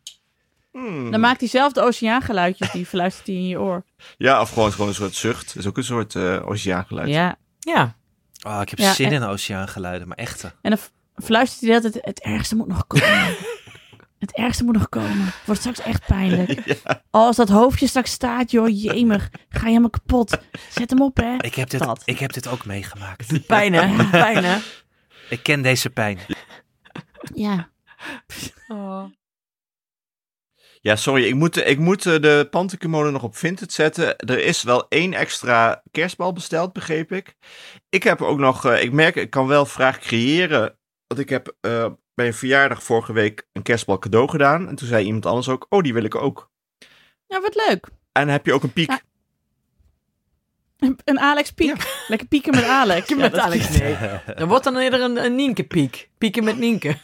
C: Hmm.
E: Dan maakt hij zelf de oceaangeluidjes, die fluistert hij in je oor.
C: Ja, of gewoon, gewoon een soort zucht. is ook een soort eh oceaangeluid.
E: Ja.
B: Ja.
D: Oh, ik heb
E: Ja,
D: zin
E: en-
D: in oceaangeluiden, maar echte.
E: En dan f- fluistert hij dat het, het ergste moet nog komen. Het ergste moet nog komen. Het Wordt straks echt pijnlijk. Oh, als dat hoofdje straks staat, joh, jemig. Ga je helemaal kapot. Zet hem op, hè.
D: Ik heb dit,
E: Dat.
D: ik heb dit ook meegemaakt.
B: Pijn hè? Pijn hè?
D: Ik ken
B: Oh.
D: deze pijn.
E: Ja.
C: Ja, sorry, ik moet, ik moet eh, de pantykimono nog op Vinted zetten. Er is wel één extra kerstbal besteld, begreep ik. Ik heb ook nog, eh, ik merk, ik kan wel vraag creëren. Want ik heb eh, bij een verjaardag vorige week een kerstbal cadeau gedaan. En toen zei iemand anders ook, oh, die wil ik ook.
E: Ja, wat leuk.
C: En heb je ook een piek?
E: Ja. Een Alex piek. Lekker pieken met Alex. Ja,
B: met
E: dat-
B: Alex, nee. Dan wordt dan eerder een, een Nienke-piek. Pieken met Nienke.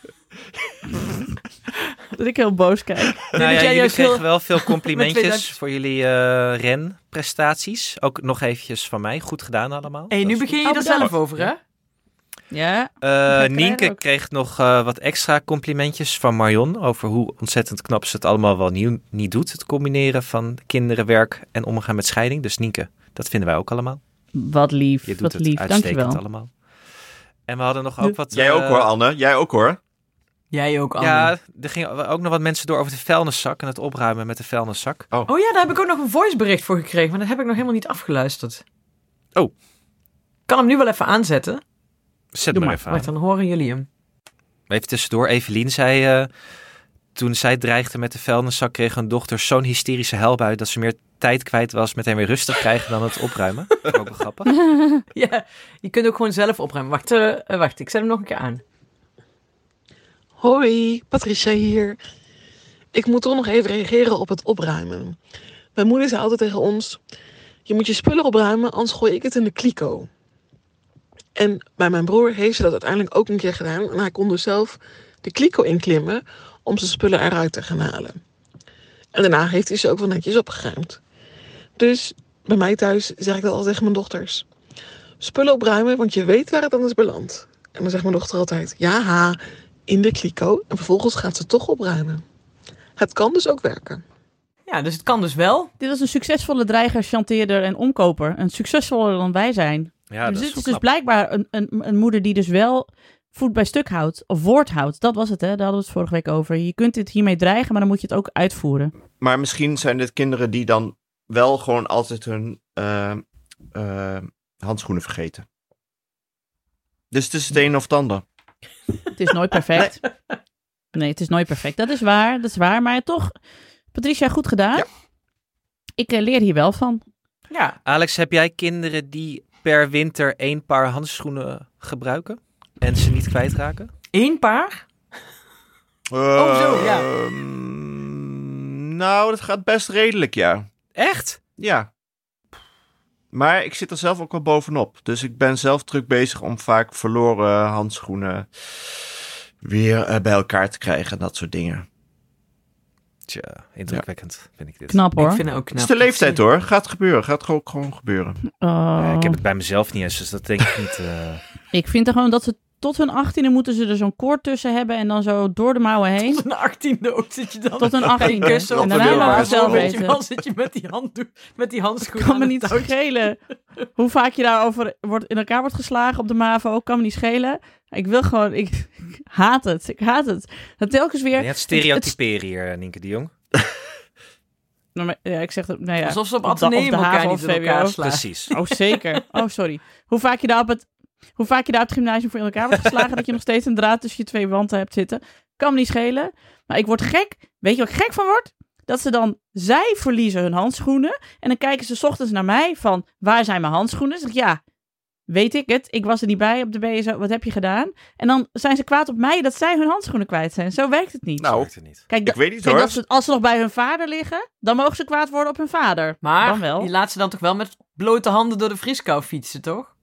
E: Dat ik heel boos kijk.
B: dat
D: Nou ja,
B: jij
D: jullie
B: juist
D: kregen
B: heel-
D: wel veel
B: met 2000.
D: complimentjes voor jullie eh, renprestaties. Ook nog eventjes van mij. Goed gedaan allemaal.
B: Hé, nu
D: Dat is
B: begin je
E: Oh,
B: er
E: bedankt.
B: zelf over, hè?
E: Ja.
D: Eh,
E: krijgen
D: Nienke
E: ook.
D: kreeg nog eh, wat extra complimentjes van Marion over hoe ontzettend knap ze het allemaal wel nieuw, niet doet. Het combineren van kinderen, werk en omgaan met scheiding. Dus Nienke, dat vinden wij ook allemaal.
E: Wat lief.
D: Je doet
E: wat
D: het
E: lief.
D: uitstekend
E: Dankjewel.
D: allemaal. En we hadden nog ook wat...
C: Jij ook
D: eh,
C: hoor, Anne. Jij ook hoor.
B: Jij ook, Anne.
D: Ja, er gingen ook nog wat mensen door over de vuilniszak en het opruimen met de vuilniszak.
B: Oh ja, daar heb ik ook nog een voicebericht voor gekregen, maar dat heb ik nog helemaal niet afgeluisterd.
D: Oh.
B: Kan hem nu wel even aanzetten?
D: Zet
B: Doe
D: maar
B: maar,
D: even aan.
B: wacht, dan horen jullie hem.
D: Even tussendoor, Evelien zei... eh, toen zij dreigde met de vuilniszak, kreeg hun dochter zo'n hysterische helbui... dat ze meer tijd kwijt was met hem weer rustig krijgen dan het opruimen. Vond ik ook wel grappig.
B: Ja, je kunt ook gewoon zelf opruimen. Wacht, eh, eh, wacht, ik zet hem nog een keer aan.
G: Hoi, Patricia hier. Ik moet toch nog even reageren op het opruimen. Mijn moeder zei altijd tegen ons: Je moet je spullen opruimen, anders gooi ik het in de kliko. En bij mijn broer heeft ze dat uiteindelijk ook een keer gedaan. En hij kon dus zelf de kliko inklimmen om zijn spullen eruit te gaan halen. En daarna heeft hij ze ook wel netjes opgeruimd. Dus bij mij thuis zeg ik dat altijd tegen mijn dochters: Spullen opruimen, want je weet waar het anders belandt. En dan zegt mijn dochter altijd: Ja, ha in de kliko en vervolgens gaat ze toch opruimen. Het kan dus ook werken.
B: Ja, dus het kan dus wel.
E: Dit was een succesvolle dreiger, chanteerder en omkoper. Een succesvoller dan wij zijn.
D: Ja,
E: dus
D: dat
E: dit
D: is
E: is
D: wel
E: dus blijkbaar een, een, een moeder die dus wel voet bij stuk houdt. Of woord houdt. Dat was het, hè. Daar hadden we het vorige week over. Je kunt dit hiermee dreigen, maar dan moet je het ook uitvoeren.
C: Maar misschien zijn dit kinderen die dan wel gewoon altijd hun eh, eh, handschoenen vergeten. Dus het is het een of het ander.
E: Het is nooit perfect. Nee, het is nooit perfect. Dat is waar, dat is waar. Maar toch, Patricia, goed gedaan.
C: Ja.
E: Ik eh, leer hier wel van.
B: Ja,
D: Alex, heb jij kinderen die per winter één paar handschoenen gebruiken en ze niet kwijtraken?
B: één paar.
C: Oh,
B: zo, ja.
C: nou, dat gaat best redelijk, ja.
D: Echt?
C: Ja. Maar ik zit er zelf ook wel bovenop. Dus ik ben zelf druk bezig om vaak verloren handschoenen weer eh, bij elkaar te krijgen en dat soort dingen.
D: Tja, indrukwekkend vind ik dit.
E: Knap hoor.
B: Ik vind het ook
C: Het
B: knap.
C: is de leeftijd hoor. Gaat gebeuren. Gaat gewoon, gewoon gebeuren.
E: Oh.
D: Eh, ik heb het bij mezelf niet eens, dus dat denk ik niet. eh.
E: Ik vind er gewoon dat ze tot hun achttiende moeten ze er zo'n koord tussen hebben en dan zo door de mouwen heen.
B: Tot een achttiende ook zit je dan.
E: Tot een achttiende.
B: Kussen op
E: En
B: de
E: daarna
C: laat
B: deur.
C: het
E: zelf
B: Weet je
E: weten.
B: wel, zit je met die handdoek, met die handschoen.
E: kan
B: aan
E: me
B: het
E: niet
B: touwtje.
E: schelen hoe vaak je daarover wordt, in elkaar wordt geslagen op de MAVO. Kan me niet schelen. Ik wil gewoon, ik, ik haat het. Ik haat het. Dat telkens weer.
D: Je het stereotyperen hier, eh, Nienke de Jong.
E: Nou, maar- Ja, ik zeg dat, nou ja.
B: Alsof ze op
E: Op de- op
B: ateneum
E: de
B: elkaar
E: haven
B: niet
E: of
B: in elkaar
E: VWO.
B: slaan.
D: Precies.
E: Oh, zeker. Oh, sorry. Hoe vaak je daar op het, hoe vaak je daar op het gymnasium voor in elkaar wordt geslagen, dat je nog steeds een draad tussen je twee wanden hebt zitten. Kan me niet schelen. Maar ik word gek. Weet je wat ik gek van word? Dat ze dan, zij verliezen hun handschoenen. En dan kijken ze 's ochtends naar mij van, waar zijn mijn handschoenen? Dan zeg ik, ja, weet ik het. Ik was er niet bij op de BSO. Wat heb je gedaan? En dan zijn ze kwaad op mij dat zij hun handschoenen kwijt zijn. Zo werkt het niet.
C: Nou,
D: Werkt er niet.
E: Kijk,
C: Ik
E: da-
C: weet niet
E: kijk,
C: hoor.
E: als, ze, als ze nog bij hun vader liggen, dan mogen ze kwaad worden op hun vader.
B: Maar
E: dan wel.
B: je laat ze dan toch wel met blote handen door de vrieskou fietsen, toch?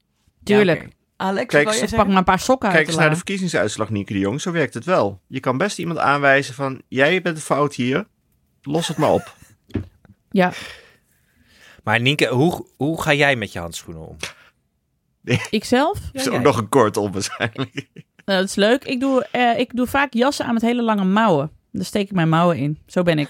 E: Tuurlijk.
B: Ja, oké. Alex,
C: Kijk,
B: wil je
C: ze
E: Pak
B: zeggen?
E: maar een paar sokken uit
C: Kijk
E: de
C: eens naar
E: la.
C: de verkiezingsuitslag, Nieke de Jong. Zo werkt het wel. Je kan best iemand aanwijzen van, jij bent de fout hier. Los het maar op.
E: Ja,
D: Maar Nienke, hoe, hoe ga jij met je handschoenen om?
E: ikzelf?
C: Er is ook nog een kort onwaarschijnlijk.
E: Nou, dat is leuk. Ik doe, eh, ik doe vaak jassen aan met hele lange mouwen. Daar steek ik mijn mouwen in. Zo ben ik.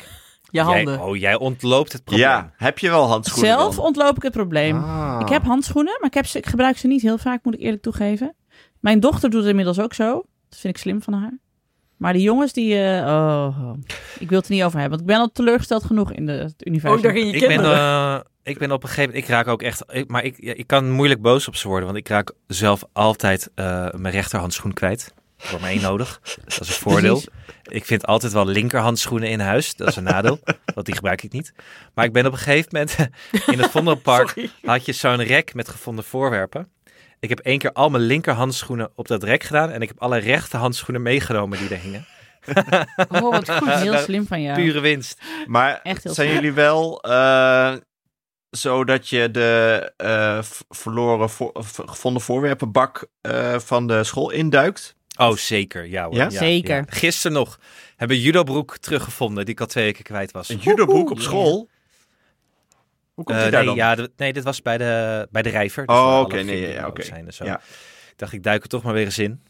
B: Je handen.
D: Jij, oh, jij ontloopt het probleem.
C: Ja, heb je wel handschoenen
E: Zelf
C: dan?
E: ontloop ik het probleem.
C: Ah.
E: Ik heb handschoenen, maar ik, heb ze, ik gebruik ze niet heel vaak, moet ik eerlijk toegeven. Mijn dochter doet het inmiddels ook zo. Dat vind ik slim van haar. Maar die jongens, die... eh, oh, ik wil het er niet over hebben. Want ik ben al teleurgesteld genoeg in de, het universum.
C: Oh,
B: Ook nog in Oh, je
D: Ik ben,
B: kinderen.
D: eh, ik ben op een gegeven moment, ik raak ook echt, ik- maar ik, ja, ik kan moeilijk boos op ze worden, want ik raak zelf altijd eh, mijn rechterhandschoen kwijt. voor mij nodig. Dat is een voordeel. Ik vind altijd wel linkerhandschoenen in huis. Dat is een nadeel, want die gebruik ik niet. Maar ik ben op een gegeven moment in het Vondelpark had je zo'n rek met gevonden voorwerpen. Ik heb één keer al mijn linkerhandschoenen op dat rek gedaan en ik heb alle rechterhandschoenen meegenomen die er hingen.
E: Oh, wat goed. Heel
D: Nou,
E: slim van jou.
D: Pure winst.
C: Maar
E: Echt heel
C: zijn
E: slim.
C: jullie wel eh, zo dat je de eh, v- verloren vo- v- gevonden voorwerpenbak eh, van de school induikt?
D: Oh, zeker. Ja, hoor.
C: Ja?
E: Zeker.
D: Gisteren nog hebben judo broek teruggevonden die ik al twee weken kwijt was.
C: Een judobroek op school? Hoe komt
D: Eh,
C: die daar dan?
D: nee, ja, d- nee, dit was bij de, bij de Rijver.
C: Oh,
D: waar alle
C: oké, nee,
D: vier
C: ja,
D: dingen
C: ja,
D: ook
C: oké.
D: zijn en zo.
C: Ja.
D: Ik dacht, ik duik er toch maar weer eens in.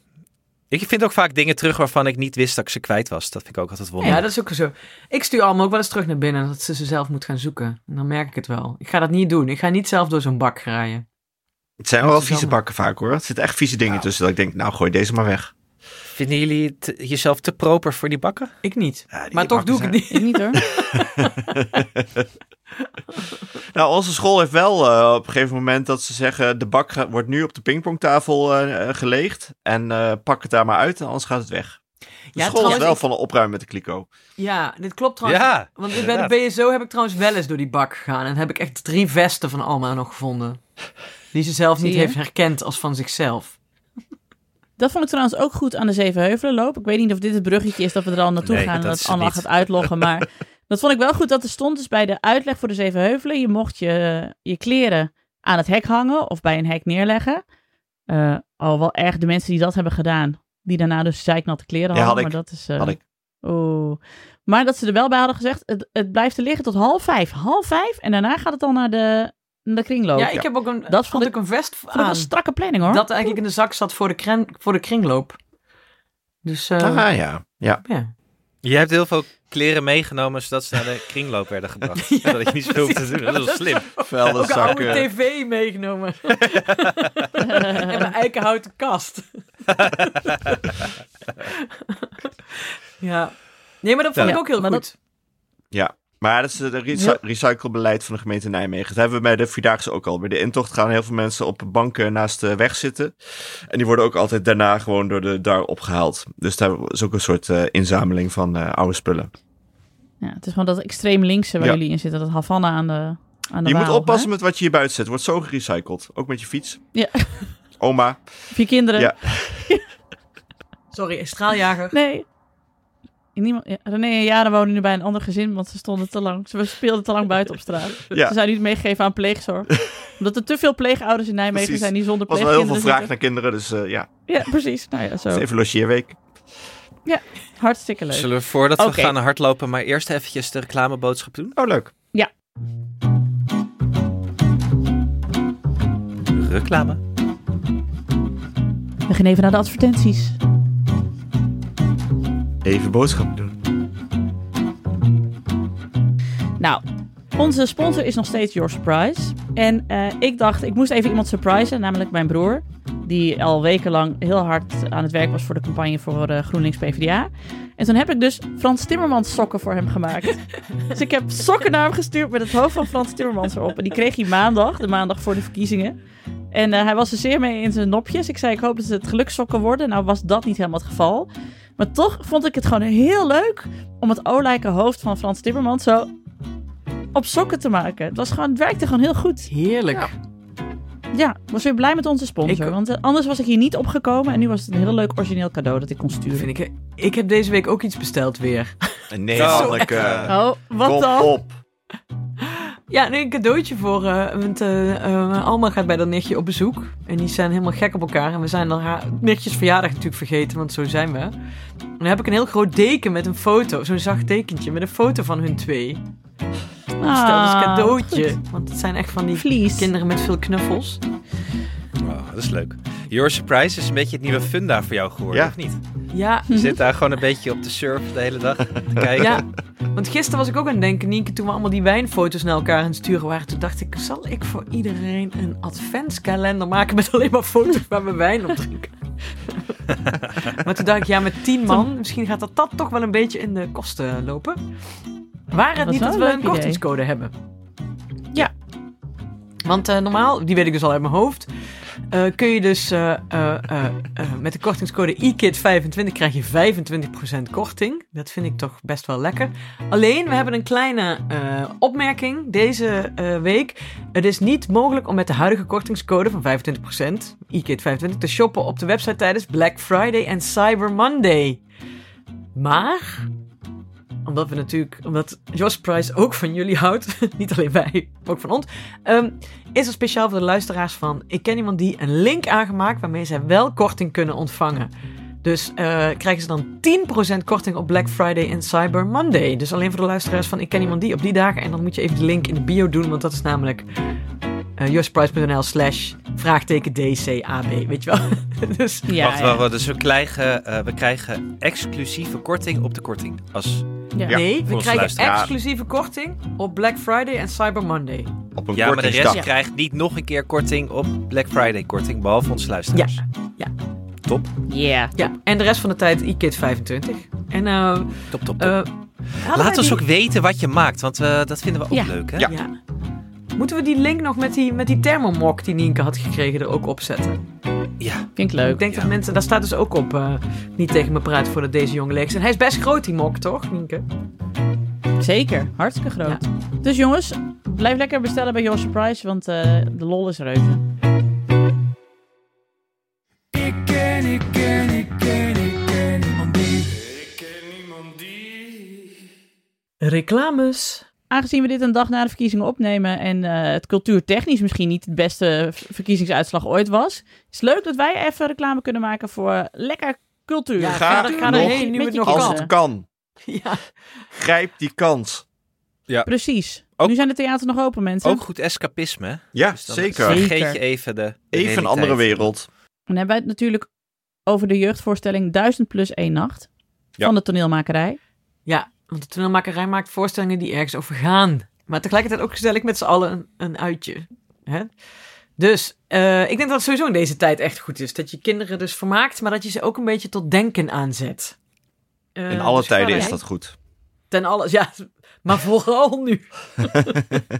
D: Ik vind ook vaak dingen terug waarvan ik niet wist dat ik ze kwijt was. Dat vind ik ook altijd
B: Ja,
D: wonderlijk.
B: dat is ook zo. Ik stuur allemaal ook wel eens terug naar binnen dat ze ze zelf moet gaan zoeken. En dan merk ik het wel. Ik ga dat niet doen. Ik ga niet zelf door zo'n bak graaien.
C: Het zijn wel
B: Dat is
C: vieze
B: jammer.
C: bakken vaak hoor. Er zitten echt vieze dingen tussen dat ik denk, nou gooi deze maar weg.
D: Vinden jullie het jezelf te proper voor die bakken?
B: Ik niet.
C: Ja, die
B: maar toch
C: bakken
B: doe ik het niet.
E: Ik niet hoor.
C: Nou, onze school heeft wel eh, op een gegeven moment dat ze zeggen... de bak gaat- wordt nu op de pingpongtafel eh, eh, geleegd... en eh, pak het daar maar uit, en anders gaat het weg. De
B: Ja,
C: school is
B: trouwens,
C: wel
B: ik-
C: van een opruimen met de kliko.
B: Ja, dit klopt trouwens.
D: Ja,
B: Want ik bij de
D: inderdaad.
B: BSO heb ik trouwens wel eens door die bak gegaan. En heb ik echt drie vesten van Alma nog gevonden. Die ze zelf
E: Zie
B: niet
E: je?
B: heeft herkend als van zichzelf.
E: Dat vond ik trouwens ook goed aan de Zevenheuvelenloop. Ik weet niet of dit het bruggetje is dat we er al naartoe
D: Nee,
E: gaan en
D: dat
E: dat,
D: is het
E: allemaal
D: niet.
E: gaat uitloggen. Maar dat vond ik wel goed dat er stond dus bij de uitleg voor de Zevenheuvelen. Je mocht je, je kleren aan het hek hangen of bij een hek neerleggen. Eh oh, wel erg de mensen die dat hebben gedaan. Die daarna dus zeiknatte kleren
C: Ja,
E: hadden.
C: had ik.
E: Maar dat is... eh,
C: Had ik.
E: Oeh. Maar dat ze er wel bij hadden gezegd, het, het blijft er liggen tot half vijf. Half vijf en daarna gaat het dan naar de, naar de
D: Oh,
E: kringloop.
B: ja, ik heb ook een,
E: Dat vond
B: vond
E: ik-
B: ik een vest
E: Vond ik wel
B: aan.
E: een strakke planning hoor.
B: Dat eigenlijk in de zak zat voor de, kren, voor de kringloop. Dus eh,
C: ah ja, ja.
B: ja.
D: Je hebt heel veel kleren meegenomen zodat ze naar de kringloop werden gebracht.
B: Ja,
D: dat je niet zo hoeft te doen. Dat is wel slim.
C: Vuilde
B: Ook een oude
D: eh,
C: zakken.
B: tv meegenomen. en mijn eikenhouten kast. ja. Nee, maar dat vond
D: Ja,
B: ik ook heel
E: maar
B: goed.
E: dat-
C: Maar dat is het recy- recyclebeleid van de gemeente Nijmegen. Dat hebben we bij de Vierdaagse ook al. Bij de intocht gaan heel veel mensen op banken naast de weg zitten. En die worden ook altijd daarna gewoon door de daar opgehaald. Dus daar is ook een soort eh, inzameling van eh, oude spullen.
E: Ja, het is gewoon dat extreem linkse waar
C: Ja.
E: jullie in zitten. Dat Havana aan de aan de
C: je moet
E: Waal,
C: oppassen
E: hè?
C: met wat je hier buiten zet. Wordt zo gerecycled. Ook met je fiets.
E: Ja.
C: Oma.
E: Of je kinderen.
C: Ja.
B: Sorry, straaljager.
E: Nee. Niemand, ja, René en Jaren wonen nu bij een ander gezin, want ze stonden te lang. Ze speelden te lang buiten op straat.
C: Ja.
E: Ze zijn nu meegegeven aan pleegzorg. Omdat er te veel pleegouders in Nijmegen
C: Precies.
E: zijn die zonder
C: Er was wel heel
E: pleegkinderen
C: veel vraag
E: zitten.
C: naar kinderen. Dus eh, ja,
E: Ja, precies. Nou ja,
C: het
E: zo.
C: is even logeerweek.
E: Hartstikke leuk.
D: Zullen we voordat
E: Oké.
D: we gaan hardlopen, maar eerst eventjes de reclameboodschap doen?
C: Oh, leuk.
D: Reclame.
E: We gaan even naar de advertenties.
C: Even boodschappen doen.
E: Nou, onze sponsor is nog steeds Your Surprise. En eh, ik dacht, ik moest even iemand surprisen, namelijk mijn broer. Die al wekenlang heel hard aan het werk was voor de campagne voor eh, GroenLinks PvdA. En toen heb ik dus Frans Timmermans sokken voor hem gemaakt. dus ik heb sokken naar hem gestuurd met het hoofd van Frans Timmermans erop. En die kreeg hij maandag, de maandag voor de verkiezingen. En eh, hij was er zeer mee in zijn nopjes. Ik zei, ik hoop dat het gelukssokken worden. Nou was dat niet helemaal het geval. Maar toch vond ik het gewoon heel leuk om het olijke hoofd van Frans Timmermans zo op sokken te maken. Het, was gewoon, het werkte gewoon heel goed.
B: Heerlijk.
E: Ja, ik was weer blij met onze sponsor.
B: Ik-
E: Want eh, anders was ik hier niet opgekomen. En nu was het een heel leuk origineel cadeau dat ik kon sturen.
B: Vind ik, ik heb deze week ook iets besteld weer.
C: Nee,
D: Zo.
C: Anneke.
E: Oh, wat
C: Kom
E: dan?
C: op.
B: Ja, nee, een cadeautje voor. eh, want eh, eh, Alma gaat bij dat nichtje op bezoek. En die zijn helemaal gek op elkaar. En we zijn dan haar nichtjes verjaardag natuurlijk vergeten, want zo zijn we. En dan heb ik een heel groot deken met een foto. Zo'n zacht dekentje met een foto van hun twee. Stel dus
E: Ah,
B: cadeautje.
E: goed.
B: Want het zijn echt van die
E: Vlies.
B: kinderen met veel knuffels.
D: Oh, dat is leuk. Your Surprise is een beetje het nieuwe funda voor jou geworden,
C: Ja.
D: of niet?
B: Ja,
D: Je zit daar gewoon een beetje op de surf de hele dag te kijken.
B: Mhm. ja. Want gisteren was ik ook aan het denken, Nienke, toen we allemaal die wijnfoto's naar elkaar aan het sturen waren. Toen dacht ik, zal ik voor iedereen een adventskalender maken met alleen maar foto's waar we wijn op drinken? maar toen dacht ik, ja, met tien man, misschien gaat dat, dat toch wel een beetje in de kosten lopen. Waar het
E: was
B: niet
E: wel
B: dat
E: een
B: we
E: leuk
B: een
E: idee.
B: kortingscode hebben.
E: Ja.
B: Want eh, normaal, die weet ik dus al uit mijn hoofd. eh, kun je dus eh, eh, eh, eh, met de kortingscode IKID25 krijg je 25% korting. Dat vind ik toch best wel lekker. Alleen, we hebben een kleine eh, opmerking deze eh, week. Het is niet mogelijk om met de huidige kortingscode van 25%, IKID25, te shoppen op de website tijdens Black Friday en Cyber Monday. Maar omdat we natuurlijk, omdat Jos Price ook van jullie houdt, niet alleen wij, ook van ons, ehm, is er speciaal voor de luisteraars van Ik ken iemand die een link aangemaakt waarmee zij wel korting kunnen ontvangen. Dus eh, krijgen ze dan 10% korting op Black Friday en Cyber Monday. Dus alleen voor de luisteraars van Ik ken iemand die op die dagen. En dan moet je even de link in de bio doen, want dat is namelijk eh josprice.nl slash vraagteken DCAB, weet je wel. dus
E: Ja,
D: wacht,
E: ja.
D: wacht, wacht. Dus we krijgen, eh, we krijgen exclusieve korting op de korting. Als,
E: Ja.
B: nee,
D: voor
B: we
D: onze
B: krijgen
D: luisteraars.
B: exclusieve korting op Black Friday en Cyber Monday.
C: Op een
D: ja, maar de rest
C: kortingsdag.
E: Ja.
D: krijgt niet nog een keer korting op Black Friday korting, behalve onze luisteraars.
B: Ja. Ja.
D: Top,
E: Ja.
B: Ja, en de rest van de tijd iKid 25. En eh
D: top, top, top.
B: eh, hadden wij
D: Laat ons
B: die-
D: ook weten wat je maakt, want eh, dat vinden we ook
E: Ja.
D: leuk, hè?
C: Ja.
B: Ja. Moeten we die link nog met die, met die thermomok die Nienke had gekregen er ook op zetten?
D: Ja.
E: Klinkt leuk.
B: Ik denk
D: Ja.
B: dat mensen, daar staat dus ook op, eh, niet tegen me praten voordat deze jongen leeg is. En hij is best groot, die mok, toch, Nienke?
E: Zeker, hartstikke groot. Dus jongens, blijf lekker bestellen bij Your Surprise, want eh, de lol is reuze.
F: Ik ken, ik ken, ik ken, ik ken niemand die. Ik ken niemand die.
B: Reclames.
E: Aangezien we dit een dag na de verkiezingen opnemen en eh, het cultuurtechnisch misschien niet het beste v- verkiezingsuitslag ooit was, is leuk dat wij even reclame kunnen maken voor lekker cultuur.
B: Ja,
C: Ga
B: ga, ga
C: nog-
B: erheen, nu
E: met
B: het
E: je
B: nog
E: kinderen.
C: Als
B: kan.
C: het kan,
B: Ja.
C: grijp die kans.
E: Precies.
D: Ook-
E: nu zijn de theaters nog open, mensen.
D: Ook goed escapisme. hè?
C: Ja,
D: Dus dan
C: zeker.
E: Zeker.
D: Vergeet je even de. de
C: Even een
D: realiteit.
C: andere wereld.
E: Dan hebben wij het natuurlijk over de jeugdvoorstelling 1000 plus 1 nacht
C: Ja.
E: van de toneelmakerij.
B: ja, want de toneelmakerij maakt voorstellingen die ergens over gaan. Maar tegelijkertijd ook gezellig met z'n allen een, een uitje. Hè? Dus eh, ik denk dat het sowieso in deze tijd echt goed is. Dat je kinderen dus vermaakt, maar dat je ze ook een beetje tot denken aanzet. Eh,
C: In alle
B: dus ga
C: tijden is
B: erheen.
C: dat goed.
B: Ten alles, ja. Maar vooral nu.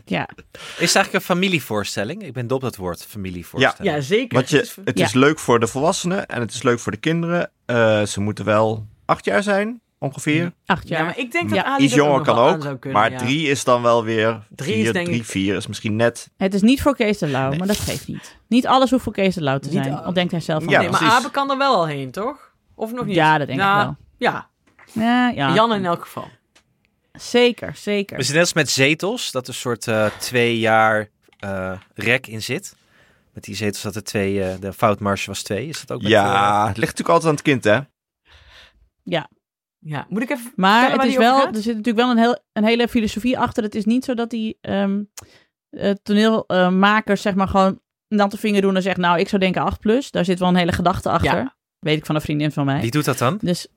E: Ja,
D: Is het eigenlijk een familievoorstelling? Ik ben dol op dat woord, familievoorstelling.
B: Ja, zeker.
C: Want je,
B: Dus we-
C: het
E: Ja.
C: is leuk voor de volwassenen en het is leuk voor de kinderen. Eh, ze moeten wel acht jaar zijn, ongeveer.
E: acht
B: ja,
E: jaar.
B: maar ik denk dat
E: Ja.
B: Ali
C: Iets
B: dat
C: jonger
B: nog wel
C: kan
B: aan
C: ook,
B: zou kunnen,
C: maar
B: ja.
C: drie is dan wel weer...
B: Drie
C: vier,
B: is denk
C: drie,
B: ik-
C: vier is misschien net...
E: Het is niet voor Kees de Lauw,
C: Nee.
E: maar dat geeft niet. Niet alles hoeft voor Kees de Lauw te
B: Niet
E: zijn,
B: al-
E: al denkt hij zelf van
C: Ja,
B: nee,
E: wel.
B: maar
C: precies.
B: Abe kan er wel al heen, toch? Of nog niet?
E: Ja, dat denk
B: Ja,
E: ik wel.
B: Ja,
E: Ja, ja.
B: Jan in elk geval.
E: Zeker, zeker.
D: We zijn Dus net als met zetels, dat er een soort eh, twee jaar eh, rek in zit. Met die zetels dat er twee, eh, de foutmarge was twee. Is dat ook met
C: Ja, het ligt natuurlijk altijd aan het kind, hè?
B: Ja, moet ik even...
E: Maar
B: Vertellen waar
E: het is
B: die over
E: wel,
B: gaat?
E: er zit natuurlijk wel een, heel, een hele filosofie achter. Het is niet zo dat die ehm, eh, toneelmakers zeg maar gewoon een natte vinger doen en zeggen... nou, ik zou denken 8 plus. Daar zit wel een hele gedachte achter. Weet ik van een vriendin van
D: eh,
E: mij.
D: Wie doet dat dan?
E: Dus,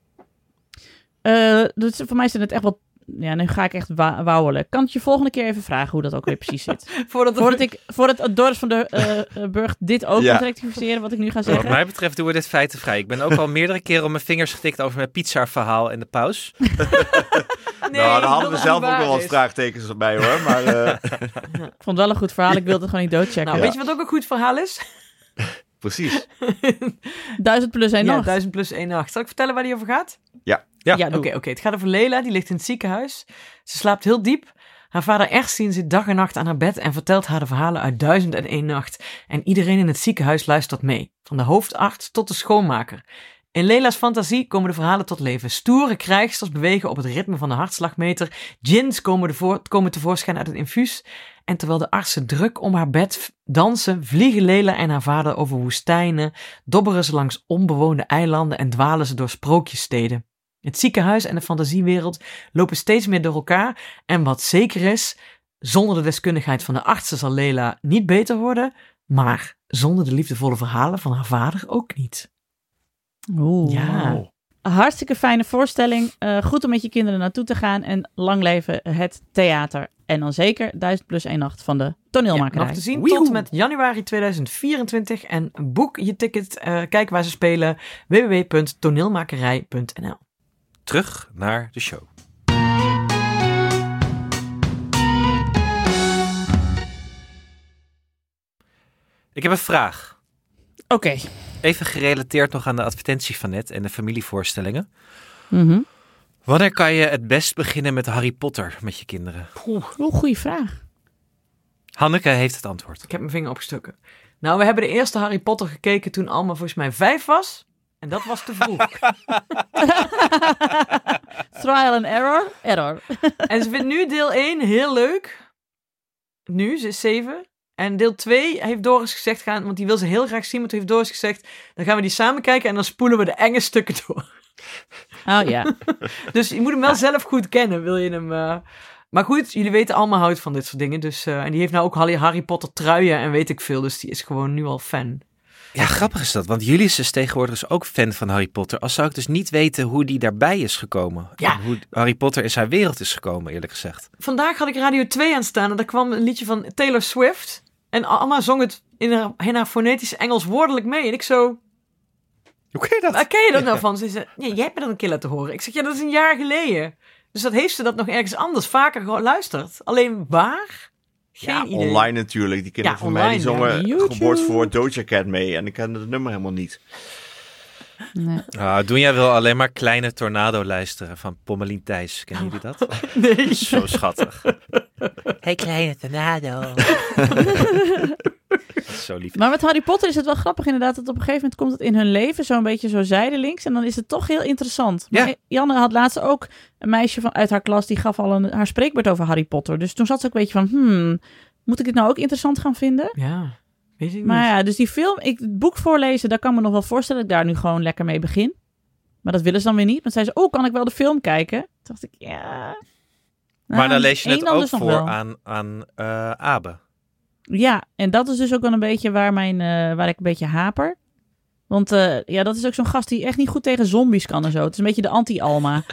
E: eh, dus voor mij zijn het echt wel... Ja, nu ga ik echt wa wauwelen. Kan het je volgende keer even vragen hoe dat ook weer precies zit?
B: Voordat,
E: Voordat ik, voordat Doris van der eh, eh, Burg dit ook
C: Ja.
E: moet rectificeren, wat ik nu ga
D: Wat
E: zeggen.
D: mij betreft doen we dit feitenvrij. Ik ben ook al meerdere keren op mijn vingers getikt over mijn pizza-verhaal en de paus.
B: Nee,
C: nou, daar
B: dat
C: hadden we
B: dat
C: zelf
B: niet
C: ook
B: waar
C: nog wat
B: is.
C: vraagtekens bij, hoor. Maar eh,
E: Ik vond het wel een goed verhaal, ik wilde het gewoon niet doodchecken.
B: Nou,
C: Ja.
B: weet je wat ook een goed verhaal is?
C: precies.
E: Duizend plus één
B: Ja,
E: nacht.
B: 1000 plus 1 nacht. Zal ik vertellen waar die over gaat?
D: Ja.
E: Ja,
B: Oké,
E: doe.
B: oké. Het gaat over Lela, die ligt in het ziekenhuis. Ze slaapt heel diep. Haar vader Ersin zit dag en nacht aan haar bed en vertelt haar de verhalen uit Duizend en één nacht. En iedereen in het ziekenhuis luistert mee, van de hoofdarts tot de schoonmaker. In Lela's fantasie komen de verhalen tot leven. Stoere krijgsters bewegen op het ritme van de hartslagmeter. Gins komen, ervoor, komen tevoorschijn uit het infuus. En terwijl de artsen druk om haar bed v- dansen, vliegen Lela en haar vader over woestijnen, dobberen ze langs onbewoonde eilanden en dwalen ze door sprookjessteden. Het ziekenhuis en de fantasiewereld lopen steeds meer door elkaar. En wat zeker is, zonder de deskundigheid van de artsen zal Lela niet beter worden. Maar zonder de liefdevolle verhalen van haar vader ook niet.
E: Oeh.
B: Ja.
E: Een Hartstikke fijne voorstelling. Eh, goed om met je kinderen naartoe te gaan. En lang leven het theater. En dan zeker 1000 plus 1 nacht van de toneelmakerij.
B: nog te zien tot en met januari 2024. En boek je ticket, eh, kijk waar ze spelen, www.toneelmakerij.nl.
D: Terug naar de show. Ik heb een vraag. Even gerelateerd nog aan de advertentie van net en de familievoorstellingen.
E: Mhm.
D: Wanneer kan je het best beginnen met Harry Potter met je kinderen?
E: Wel goede vraag.
D: Hanneke heeft het antwoord.
B: Ik heb mijn vinger opgestoken. Nou, we hebben de eerste Harry Potter gekeken toen Alma volgens mij vijf was. En dat was te vroeg.
E: Trial and error. Error.
B: en ze vindt nu deel 1 heel leuk. Nu, ze is zeven. En deel 2 heeft Doris gezegd, gaan, want die wil ze heel graag zien. Maar toen heeft Doris gezegd, dan gaan we die samen kijken en dan spoelen we de enge stukken door.
E: Oh ja.
B: Dus je moet hem wel zelf goed kennen, wil je hem... eh. Maar goed, jullie weten allemaal houdt van dit soort dingen. Dus, eh, en die heeft nou ook Harry- Harry Potter truien en weet ik veel. Dus die is gewoon nu al fan.
D: Ja, grappig is dat, want Julius is tegenwoordig dus ook fan van Harry Potter. Als zou ik dus niet weten hoe die daarbij is gekomen.
B: Ja.
D: En hoe Harry Potter in zijn wereld is gekomen, eerlijk gezegd.
B: Vandaag had ik Radio 2 aan staan en daar kwam een liedje van Taylor Swift. En Alma zong het in haar, in haar fonetisch Engels woordelijk mee. En ik zo,
D: Hoe kun je dat?
B: waar ken je dat nou van? Ze zei, nee, jij hebt me dat een keer laten horen. Ik zeg, ja, dat is een jaar geleden. Dus dat heeft ze dat nog ergens anders vaker geluisterd. Alleen waar? Geen
C: ja,
B: idee.
C: online natuurlijk. Die kinderen
B: Ja,
C: van mij die
B: online, ja.
C: zongen
E: YouTube.
C: geboorteverwoord Doja Cat mee. En ik kende het nummer helemaal niet.
E: Nee.
D: Ah, doen jij wil alleen maar kleine tornado luisteren van Pommelien Thijs. Kennen jullie dat?
B: Nee.
D: Zo schattig. Hey kleine tornado. Zo lief.
E: Maar met Harry Potter is het wel grappig inderdaad dat op een gegeven moment komt het in hun leven zo'n beetje zo zijdelings en dan is het toch heel interessant. Maar
D: Ja.
E: Janne had laatst ook een meisje van, uit haar klas die gaf al een, haar spreekbeurt over Harry Potter. Dus toen zat ze ook een beetje van, hmm, moet ik dit nou ook interessant gaan vinden?
B: Ja, weet ik
E: Maar
B: niet.
E: ja, dus die film, ik, het boek voorlezen, daar kan me nog wel voorstellen dat ik daar nu gewoon lekker mee begin. Maar dat willen ze dan weer niet. Want zei ze, oh, kan ik wel de film kijken? Toen dacht ik, ja.
D: Maar
E: Nou,
D: dan lees je
E: één
D: het
E: dan
D: ook
E: dus nog
D: voor
E: wel.
D: aan, aan eh, Abe.
E: Ja, en dat is dus ook wel een beetje waar, mijn, eh, waar ik een beetje haper. Want eh, ja, dat is ook zo'n gast die echt niet goed tegen zombies kan en zo. Het is een beetje de anti-Alma.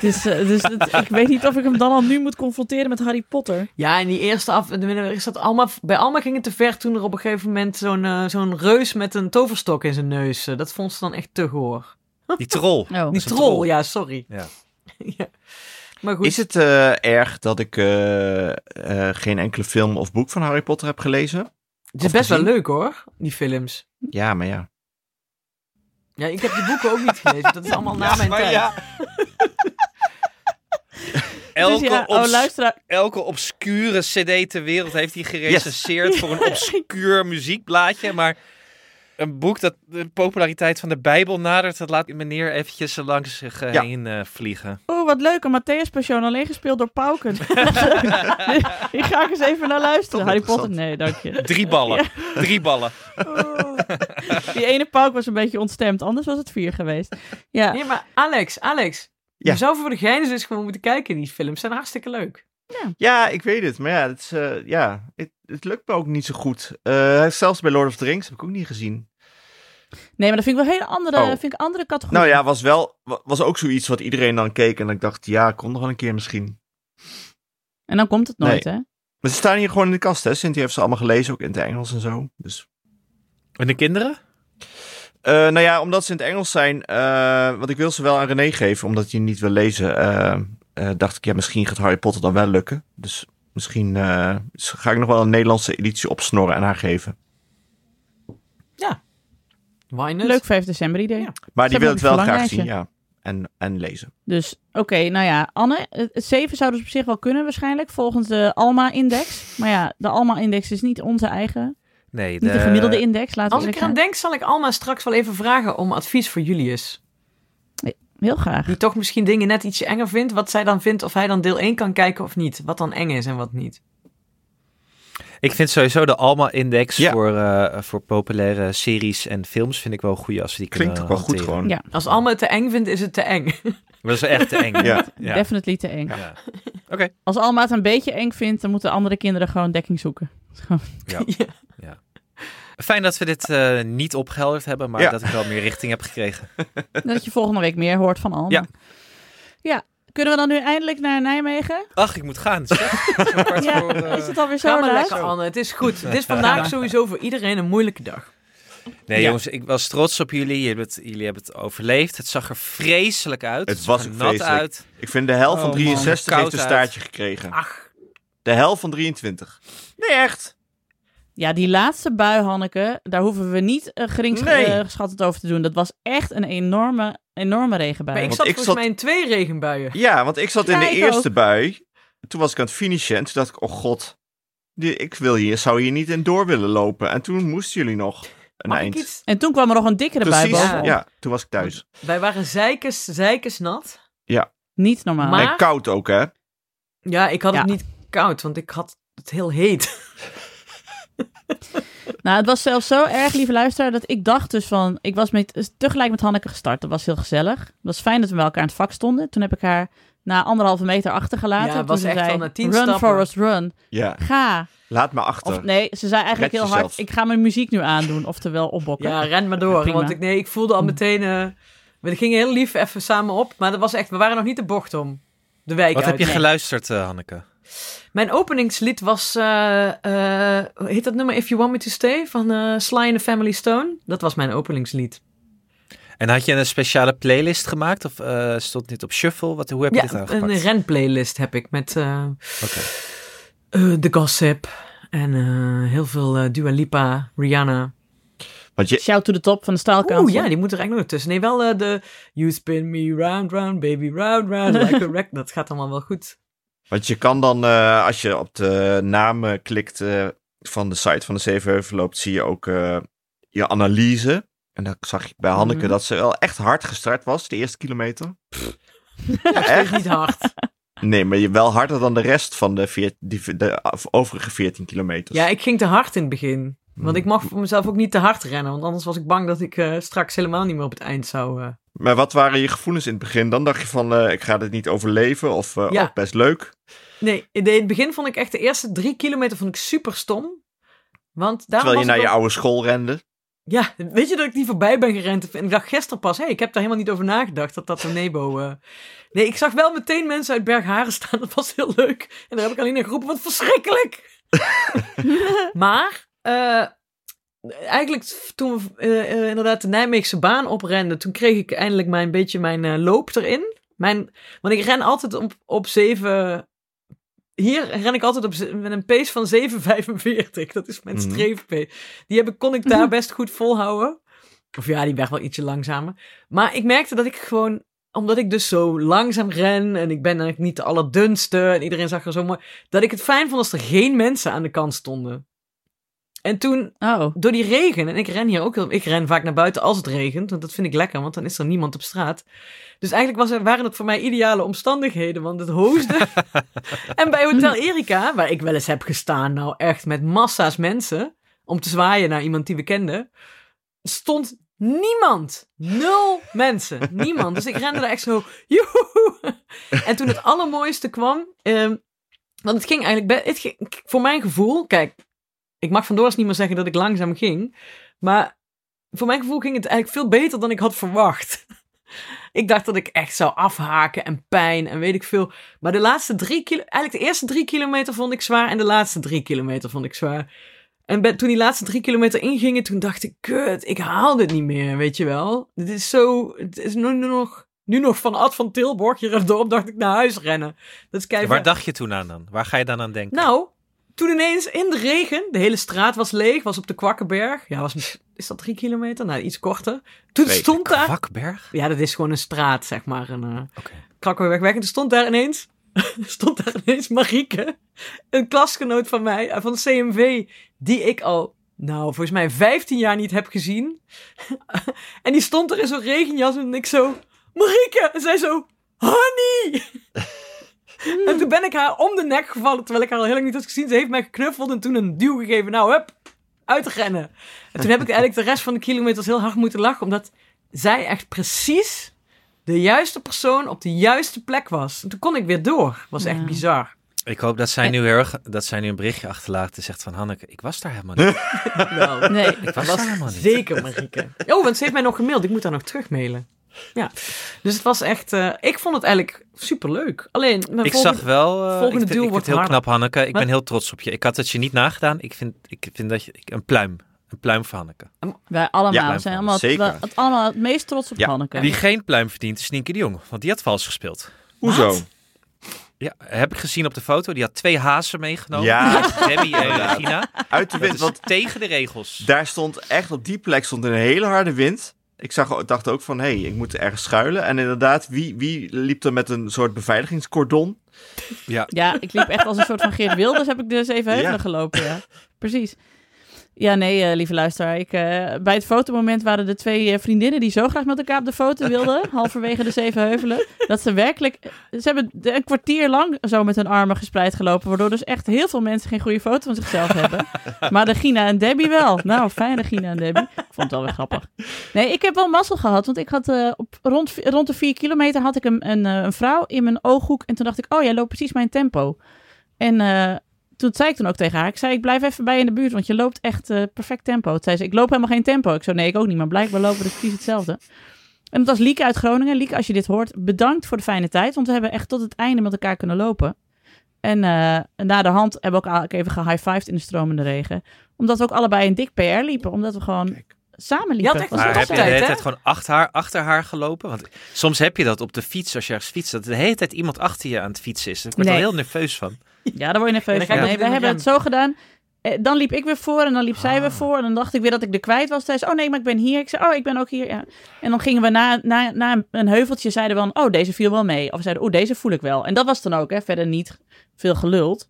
E: dus eh, dus het- ik weet niet of ik hem dan al nu moet confronteren met Harry Potter.
B: Ja, in die eerste af... Is dat Alma, bij Alma ging het te ver toen er op een gegeven moment zo'n eh, zo'n reus met een toverstok in zijn neus... eh, dat vond ze dan echt te goor.
D: Die troll.
E: Oh.
D: Dat
B: Die
D: is een
B: troll, ja, sorry.
D: Ja.
B: Ja. Maar goed.
C: Is het eh, erg dat ik eh, eh, geen enkele film of boek van Harry Potter heb gelezen?
B: Het is
C: Of
B: best wel
C: gezien?
B: leuk hoor, die films.
C: Ja, maar ja.
B: Ja, ik heb die boeken ook niet gelezen. Dat is allemaal na mijn tijd.
D: Elke,
E: dus ja,
D: obs-
E: oh, luisteraar.
D: elke obscure cd ter wereld heeft hij gerecenseerd voor een obscuur muziekblaadje. Maar een boek dat de populariteit van de Bijbel nadert, dat laat meneer eventjes langs zich eh,
C: Ja.
D: heen eh, vliegen.
E: Oh, wat leuk. Een Matthäus Passion alleen gespeeld door Pauken. Hier ga ik eens even naar luisteren.
C: Toch
E: Harry Potter?
C: interessant.
E: Nee, dank je.
D: Drie ballen. Drie ballen.
E: Oh. Die ene Pauk was een beetje ontstemd. Anders was het vier geweest. Ja,
B: Nee, maar Alex, Alex.
C: Ja.
B: Je zou voor de gein dus gewoon moeten kijken. Die films zijn hartstikke leuk.
C: Ja, ik weet het. Maar ja, het, is, eh, ja, het, het lukt me ook niet zo goed. Eh, zelfs bij Lord of the Rings heb ik ook niet gezien.
E: nee, maar dat vind ik wel een hele andere,
C: Oh.
E: vind ik andere categorie.
C: Nou ja, was, wel, wa- was ook zoiets wat iedereen dan keek. En ik dacht, ja, kon nog wel een keer misschien.
E: En dan komt het nooit, hè?
C: Maar ze staan hier gewoon in de kast, hè? Sinti heeft ze allemaal gelezen, ook in het Engels en zo. Dus.
D: En de kinderen?
C: Eh, nou ja, omdat ze in het Engels zijn, eh, want ik wil ze wel aan René geven, omdat hij niet wil lezen, eh, eh, dacht ik, ja, misschien gaat Harry Potter dan wel lukken. Dus misschien eh, s- ga ik nog wel een Nederlandse editie opsnorren en haar geven.
B: Why not?
E: Leuk 5 december idee.
B: Ja.
C: Maar die
E: hebben
C: wil
E: ook
C: het
E: een
C: wel graag
E: verlanglijstje.
C: zien, ja. En, en lezen.
E: Dus oké, nou ja, Anne, het 7 zou dus op zich wel kunnen waarschijnlijk, volgens de Alma-index. Maar ja, de Alma-index is niet onze eigen,
D: Nee,
E: niet de gemiddelde index, laten
B: Als
E: we
B: ik
E: zeggen.
B: eraan denk, zal ik Alma straks wel even vragen om advies voor Julius.
E: Heel graag.
B: Die toch misschien dingen net ietsje enger vindt. Wat zij dan vindt, of hij dan deel 1 kan kijken of niet. Wat dan eng is en wat niet.
D: Ik vind sowieso de Alma-index
C: Ja.
D: voor, eh, voor populaire series en films vind ik wel goed als we die
C: Klinkt ook
D: kunnen
C: wel goed
D: hanteren.
C: gewoon.
E: Ja.
B: Als Alma het te eng vindt, is het te eng.
D: Dat is wel echt te eng.
C: Ja.
D: Ja.
E: Definitely te eng.
D: Ja.
E: Als Alma het een beetje eng vindt, dan moeten andere kinderen gewoon dekking zoeken.
B: Ja.
D: Fijn dat we dit eh, niet opgehelderd hebben, maar
C: Ja.
D: dat ik wel meer richting heb gekregen.
E: Dat je volgende week meer hoort van Alma.
D: Ja.
E: Ja, kunnen we dan nu eindelijk naar Nijmegen?
D: Ach, ik moet gaan. zeg. Het is maar kwart
E: Ja,
D: voor, eh,
E: Is het alweer
B: Ga
E: zo
B: maar
E: laat?
B: lekker, Anne. Het is goed. Het is vandaag sowieso voor iedereen een moeilijke dag.
D: Nee,
E: Ja.
D: jongens, ik was trots op jullie. Jullie hebben, het, jullie hebben het overleefd. Het zag er vreselijk uit.
C: Het
D: zag
C: was
D: er
C: ook
D: nat
C: vreselijk.
D: uit.
C: Ik vind de helft van
D: Oh, man.
C: 63 heeft
D: Koud
C: een
D: uit.
C: staartje gekregen.
B: Ach.
C: De helft van 23. Nee, echt.
E: Ja, die laatste bui, Hanneke, daar hoeven we niet eh, gering
C: Nee.
E: schattend over te doen. Dat was echt een enorme, enorme regenbui.
B: Maar ik
C: Want
B: zat
C: ik
B: volgens
C: zat-
B: mij in twee regenbuien.
C: Ja, want ik zat in
E: Ja,
C: de
E: ik
C: eerste bui. Toen was ik aan het finishen en toen dacht ik, oh god, die- ik wil hier, zou hier niet in door willen lopen. En toen moesten jullie nog een
B: Mag ik
C: eind.
B: iets?
E: En toen kwam er nog een dikkere bui
C: Precies,
E: bovenop.
B: bovenop.
C: ja, toen was ik thuis.
B: Wij waren zeikers, zeikers nat.
E: Niet normaal.
B: Maar-
C: En koud ook, hè?
B: Ja, ik had het
E: Ja.
B: niet koud, want ik had het heel heet.
E: Nou, het was zelfs zo erg, lieve luisteraar, dat ik dacht dus van... Ik was met, tegelijk met Hanneke gestart. Dat was heel gezellig. Het was fijn dat we bij elkaar in het vak stonden. Toen heb ik haar na anderhalve meter achtergelaten.
B: Ja,
E: Toen
B: was
E: ze
B: echt
E: zei,
B: al na tien
E: Run,
B: stappen."
E: Forrest, run.
C: Ja,
E: Ga.
C: laat me achter.
E: Of nee, ze zei eigenlijk
C: Red
E: heel hard...
C: jezelf.
E: Ik ga mijn muziek nu aandoen, oftewel opbokken.
B: Ja, ren maar door.
E: Prima.
B: Want ik, nee, ik voelde al meteen... eh, we gingen heel lief even samen op, maar dat was echt... We waren nog niet de bocht om. De wijk
D: Wat
B: uit.
D: heb je
B: Nee.
D: geluisterd, eh, Hanneke?
B: Mijn openingslied was, eh, eh, hoe heet dat nummer If You Want Me To Stay van eh, Sly and the Family Stone. Dat was mijn openingslied.
D: En had je een speciale playlist gemaakt? Of eh, stond dit op shuffle? Wat, hoe heb je dit
B: Ja,
D: aangepakt?
B: een renplaylist heb ik met eh,
D: Oké.
B: eh, The Gossip en eh, heel veel eh, Dua Lipa, Rihanna.
C: Want je,
E: Shout to the top van de staalkant.
B: Oeh ja, die moet er eigenlijk nog tussen. Nee, wel eh, de You Spin Me Round Round Baby Round Round Like a Wreck. Dat gaat allemaal wel goed.
C: want je kan dan, eh, als je op de naam eh, klikt eh, van de site van de Zevenheuvel loopt, zie je ook eh, je analyse. En dan zag ik bij Hanneke
B: Mhm.
C: dat ze wel echt hard gestart was, de eerste kilometer. Ja,
B: Het is
C: echt?
B: niet hard.
C: Nee, maar je wel harder dan de rest van de, veert- die, de af- overige 14 kilometers.
B: Ja, ik ging te hard in het begin. Want
C: Hmm.
B: ik mag voor mezelf ook niet te hard rennen. Want anders was ik bang dat ik eh, straks helemaal niet meer op het eind zou... eh,
C: Maar wat waren je gevoelens in het begin? Dan dacht je van, eh, ik ga dit niet overleven of eh,
B: Ja.
C: oh, best leuk.
B: Nee, in de- in het begin vond ik echt de eerste drie kilometer vond ik super stom. Want daarom
C: Terwijl je
B: was
C: naar
B: ik
C: je
B: ook-
C: oude school rende.
B: Ja, weet je dat ik die voorbij ben gerend? En ik dacht gisteren pas, hé, hey, ik heb daar helemaal niet over nagedacht dat dat een nebo... eh. Nee, ik zag wel meteen mensen uit Bergharen staan. Dat was heel leuk. En daar heb ik alleen in geroepen, wat verschrikkelijk! maar, eh, eigenlijk toen we eh, eh, inderdaad de Nijmeegse baan oprenden... toen kreeg ik eindelijk mijn beetje mijn eh, loop erin. Mijn, want ik ren altijd op, op zeven... Hier ren ik altijd op, ze- met een pace van 7,45. Dat is mijn
C: Mhm.
B: streefpace. Die heb ik, kon ik daar best goed volhouden. Of ja, die werd wel ietsje langzamer. Maar ik merkte dat ik gewoon omdat ik dus zo langzaam ren en ik ben eigenlijk niet de allerdunste en iedereen zag er zo mooi, dat ik het fijn vond als er geen mensen aan de kant stonden. En toen,
E: Oh,
B: door die regen, en ik ren hier ook heel, ik ren vaak naar buiten als het regent, want dat vind ik lekker, want dan is er niemand op straat. Dus eigenlijk was, er- waren het voor mij ideale omstandigheden, want het hoosde. en bij Hotel Erika, waar ik wel eens heb gestaan, nou echt met massa's mensen, om te zwaaien naar iemand die we kenden, stond niemand. Nul mensen. Niemand. Dus ik rende daar echt zo, joehoe. En toen het allermooiste kwam, ehm, want het ging eigenlijk, be- het ging- voor mijn gevoel, kijk, ik mag vandoor niet meer zeggen dat ik langzaam ging, maar voor mijn gevoel ging het eigenlijk veel beter dan ik had verwacht. Ik dacht dat ik echt zou afhaken en pijn en weet ik veel. Maar de laatste drie kilo, eigenlijk de eerste drie kilometer vond ik zwaar en de laatste drie kilometer vond ik zwaar. En ben- toen die laatste drie kilometer ingingen, toen dacht ik, kut, ik haal dit niet meer, weet je wel. Dit is zo, het is nu, nu nog, nu nog van Ad van Tilburg hier in het dorp, dacht ik naar huis rennen. Dat is keihard.
D: Waar dacht je toen aan dan? Waar ga je dan aan denken?
B: Nou, toen ineens in de regen, de hele straat was leeg, was op de Kwakkenberg. Ja, was, mis- is dat drie kilometer? Nou, iets korter. Toen
C: Twee.
B: stond daar...
D: Vakberg?
B: Ja, dat is gewoon een straat, zeg maar. Een eh
D: Oké.
B: Kwakkenberg weg. En toen stond daar ineens... stond daar ineens Marieke, een klasgenoot van mij, eh, van de CMV, die ik al, nou, volgens mij 15 jaar niet heb gezien. en die stond er in zo'n regenjas en ik zo... Marieke! En zij zo... Honey! En toen ben ik haar om de nek gevallen, terwijl ik haar al heel lang niet had gezien. Ze heeft mij geknuffeld en toen een duw gegeven. Nou, hup, uitrennen. En toen heb ik eigenlijk de rest van de kilometers heel hard moeten lachen, omdat zij echt precies de juiste persoon op de juiste plek was. En toen kon ik weer door. Was echt
E: Ja.
B: bizar.
D: Ik hoop dat zij, nu heel erg, dat zij nu een berichtje achterlaat en zegt van Hanneke, ik was daar helemaal niet.
B: Wel,
C: Nou,
E: nee.
D: Ik was daar helemaal niet.
B: zeker Marieke. Oh, want ze heeft mij nog gemaild. Ik moet haar nog terugmailen. Ja, dus het was echt... eh, ik vond het eigenlijk superleuk. Alleen, mijn
D: Ik
B: volgende-
D: zag wel. eh,
B: volgende
D: ik
B: duel
D: vind, ik vind
B: wordt
D: het heel
B: harder.
D: knap, Hanneke. Ik
B: Maar-
D: ben heel trots op je. Ik had het je niet nagedaan. Ik vind, ik vind dat je. ik- Een pluim. Een pluim voor Hanneke.
E: Wij allemaal
C: Ja,
E: we zijn allemaal het,
C: zeker.
E: we- het, allemaal het meest trots op
C: Ja,
E: Hanneke.
D: Wie geen pluim verdient is Nienke de Jong. Want die had vals gespeeld.
C: Hoezo?
D: Ja, heb ik gezien op de foto. Die had twee hazen meegenomen.
C: Ja.
D: Debbie en
C: Inderdaad.
D: Regina.
C: Uit de
D: Dat
C: wind,
D: is
C: want
D: tegen de regels.
C: daar stond echt op die plek stond een hele harde wind. Ik zag, dacht ook van, hé, hey, ik moet ergens schuilen. En inderdaad, wie, wie liep er met een soort beveiligingscordon?
D: Ja.
E: Ja, ik liep echt als een soort van Geert Wilders heb ik dus even
C: Ja.
E: hevelen gelopen, ja. Precies. Ja, nee, eh, lieve luisteraar. Ik, eh, bij het fotomoment waren de twee eh, vriendinnen die zo graag met elkaar op de foto wilden, halverwege de zeven heuvelen, dat ze werkelijk... Ze hebben de- een kwartier lang zo met hun armen gespreid gelopen, waardoor dus echt heel veel mensen geen goede foto van zichzelf hebben. Maar de Gina en Debbie wel. Nou, fijne Gina en Debbie. Ik vond het wel weer grappig. Nee, ik heb wel mazzel gehad. Want ik had eh, op, rond, rond de vier kilometer had ik een, een, eh, een vrouw in mijn ooghoek. En toen dacht ik, oh, jij loopt precies mijn tempo. En eh, toen zei ik toen ook tegen haar. Ik zei, ik blijf even bij je in de buurt, want je loopt echt eh, perfect tempo. Toen zei ze, ik loop helemaal geen tempo. Ik zo, nee, ik ook niet. Maar blijkbaar lopen we dus precies hetzelfde. En dat was Lieke uit Groningen. Lieke, als je dit hoort, bedankt voor de fijne tijd. Want we hebben echt tot het einde met elkaar kunnen lopen. En eh na de hand hebben we ook even gehighfived in de stromende regen. Omdat we ook allebei een dik PR liepen. Omdat we gewoon samen
B: Je
E: liepen.
B: had echt
E: Het was
B: een
D: Maar heb je de
B: toptijd,
D: hele
B: hè?
D: tijd gewoon achter haar, achter haar gelopen? Want soms heb je dat op de fiets, als je ergens fietst, dat de hele tijd iemand achter je aan het fietsen is. Ik word er
E: Nee.
D: heel nerveus van.
E: Ja, daar word je nerveus
B: Ja, dan ga
E: van.
B: ik
E: Nee,
B: ook
E: wij
B: weer met
E: hebben
B: hem.
E: het zo gedaan. Eh, Dan liep ik weer voor en dan liep zij
B: Ah.
E: weer voor. En dan dacht ik weer dat ik er kwijt was. Zij zei, oh nee, maar ik ben hier. Ik zei, oh, ik ben ook hier. Ja. En dan gingen we na, na, na een- een heuveltje, zeiden we dan, oh, deze viel wel mee. Of we zeiden, oh, deze voel ik wel. En dat was dan ook, hè, verder niet veel geluld.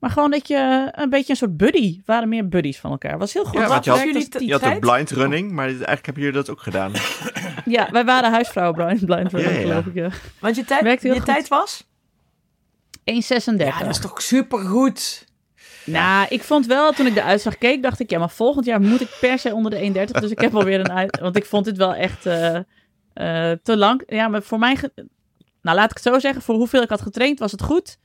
E: Maar gewoon dat je eh, een beetje een soort buddy, waren meer buddies van elkaar. Was Oh. heel goed.
C: Ja, want je had-
E: Werkte als
C: Je had ook
E: team.
C: blind running, maar eigenlijk hebben jullie dat ook gedaan.
E: Ja, wij waren huisvrouwen, Brian Blind,
C: Ja, ja.
E: geloof ik. Ja.
B: Want je tijd,
E: Werkt heel
B: je
E: goed.
B: tijd was?
E: 1,36.
B: Ja, dat is toch supergoed?
E: Nou, ik vond wel, toen ik de uitslag keek, dacht ik, ja, maar volgend jaar moet ik per se onder de 1,30. Dus ik heb alweer een uit... Want ik vond dit wel echt eh, eh, te lang. Ja, maar voor mijn... ge- Nou, laat ik het zo zeggen. Voor hoeveel ik had getraind, was het goed.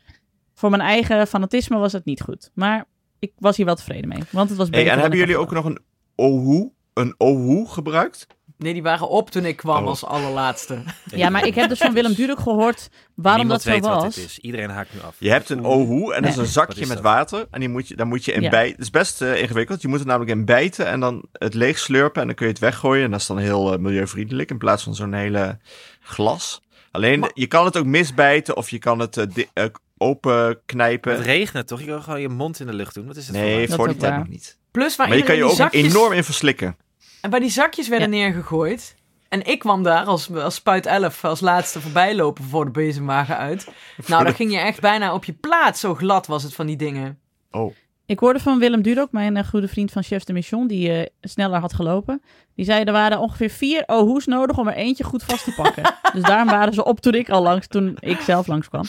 E: Voor mijn eigen fanatisme was het niet goed. Maar ik was hier wel tevreden mee. Want het was beter
C: Hey, en
E: dan
C: hebben
E: ik
C: jullie
E: had
C: ook nog een ohu, een ohu gebruikt?
B: Nee, die waren op toen ik kwam
C: Oh.
B: als allerlaatste.
E: gedacht. Ja, maar ik heb dus van Willem Dudok gehoord waarom
D: Niemand
E: dat zo
D: weet
E: was.
D: wat dit is. Iedereen haakt nu af.
C: Je hebt een ohu en dat is
E: Nee.
C: een zakje
D: Wat is
C: met
D: dat?
C: water. En die moet je, daar moet je in
E: Ja.
C: bijten. Het is best eh, ingewikkeld. Je moet er namelijk in bijten en dan het leeg slurpen. En dan kun je het weggooien. En dat is dan heel eh, milieuvriendelijk in plaats van zo'n hele glas. Alleen, je kan het ook misbijten of je kan het eh, di- eh, open knijpen.
D: Het regent toch? Je kan gewoon je mond in de lucht doen. Wat is het
C: Nee,
E: Dat
C: voor die
E: is ook
C: tijd
E: waar.
C: nog niet.
B: Plus waar
C: Maar je kan je
B: iedereen
C: ook
B: die zakjes,
C: enorm in verslikken.
B: En waar die zakjes werden neergegooid. En ik kwam daar als, als spuit 11 als laatste voorbij lopen voor de bezemwagen uit. Nou, dan ging je echt bijna op je plaat. Zo glad was het van die dingen.
C: Oh,
E: Ik hoorde van Willem Dudok, mijn eh, goede vriend van Chef de Mission, die eh, sneller had gelopen. Die zei, er waren ongeveer vier ohoes nodig om er eentje goed vast te pakken. dus daarom waren ze op toen ik al langs, toen ik zelf langskwam.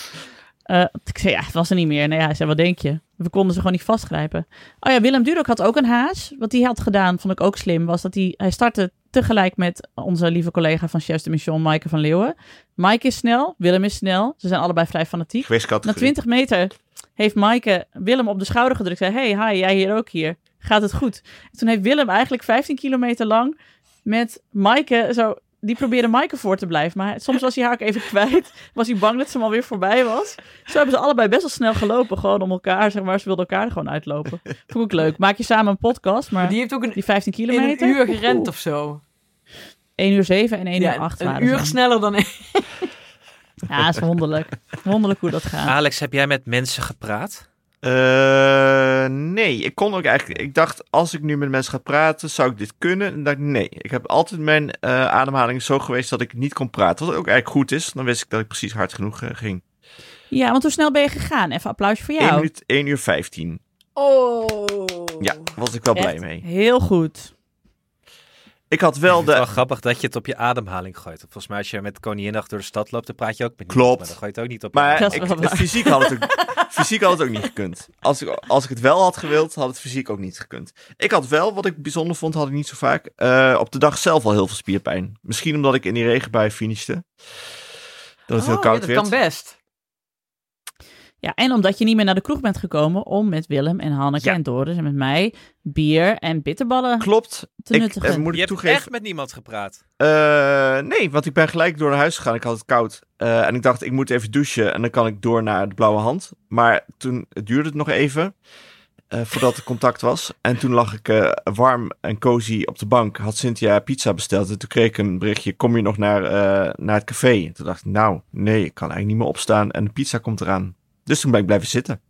E: Eh ik zei, ja, het was er niet meer. Nou ja, hij zei, wat denk je? We konden ze gewoon niet vastgrijpen. Oh ja, Willem Dudok had ook een haas. Wat hij had gedaan, vond ik ook slim, was dat hij... Hij startte tegelijk met onze lieve collega van Chef de Mission, Maaike van Leeuwen. Maaike is snel, Willem is snel. Ze zijn allebei vrij fanatiek. Na
C: gewichtscategorie.
E: 20 meter heeft Maaike Willem op de schouder gedrukt. Zei, hey, hi, jij hier ook hier. Gaat het goed? En toen heeft Willem eigenlijk 15 kilometer lang met Maaike zo... Die probeerde Maaike voor te blijven, maar soms was hij haar ook even kwijt. Was hij bang dat ze hem alweer voorbij was. Zo hebben ze allebei best wel snel gelopen, gewoon om elkaar, zeg maar. Ze wilden elkaar er gewoon uitlopen. Vond ik leuk. Maak je samen een podcast, maar
B: Die
E: die,
B: heeft ook een,
E: 15
B: in
E: kilometer...
B: een uur gerend of zo.
E: 1 uur 7 en 1
B: Ja,
E: uur 8
B: een
E: waren ze.
B: uur sneller dan ik.
E: Ja, is wonderlijk. Wonderlijk hoe dat
B: Ah.
E: gaat.
D: Alex, heb jij met mensen gepraat?
C: Eh, nee, ik kon ook eigenlijk. Ik dacht, als ik nu met mensen ga praten, zou ik dit kunnen? En ik dacht, nee. Ik heb altijd mijn eh, ademhaling zo geweest dat ik niet kon praten. Wat ook eigenlijk goed is. Dan wist ik dat ik precies hard genoeg eh, ging.
E: Ja, want hoe snel ben je gegaan? Even applaus voor
C: 1
E: jou.
C: minuut 1 uur 15.
B: Oh.
C: Ja, was ik wel
E: Echt?
C: blij mee.
E: Heel goed.
C: Ik had
D: Ik
C: wel
D: vind het
C: de.
D: wel grappig dat je het op je ademhaling gooit. Volgens mij als je met Koninginnacht door de stad loopt, dan praat je ook met niemand,
C: Klopt.
D: Maar dan gooi je het ook niet op. je
C: Maar
E: Dat
D: ademhaling.
E: is
C: ik,
E: wel waar.
C: fysiek, had het ook, fysiek had het ook niet gekund. Als ik, als ik het wel had gewild, had het fysiek ook niet gekund. Ik had wel, wat ik bijzonder vond, had ik niet zo vaak. eh, op de dag zelf al heel veel spierpijn. Misschien omdat ik in die regenbui finishte. Dat
E: Oh,
C: het heel koud
B: dat
C: werd.
B: kan best.
E: Ja, en omdat je niet meer naar de kroeg bent gekomen om met Willem en Hanneke
C: Ja.
E: en Doris en met mij bier en bitterballen
C: Klopt.
E: te
C: Ik,
E: nuttigen.
C: eh, moet
D: je
C: ik
D: hebt
C: toegeven.
D: echt met niemand gepraat.
C: Eh, nee, want ik ben gelijk door naar huis gegaan. Ik had het koud. Eh, en ik dacht, ik moet even douchen. En dan kan ik door naar de blauwe hand. Maar toen het duurde het nog even. Eh, eh, voordat er contact was. En toen lag ik eh, warm en cozy op de bank. Had Cynthia pizza besteld. En toen kreeg ik een berichtje: Kom je nog naar, eh, naar het café? En toen dacht ik: Nou, nee, ik kan eigenlijk niet meer opstaan. En de pizza komt eraan. Dus toen ben ik blijven zitten.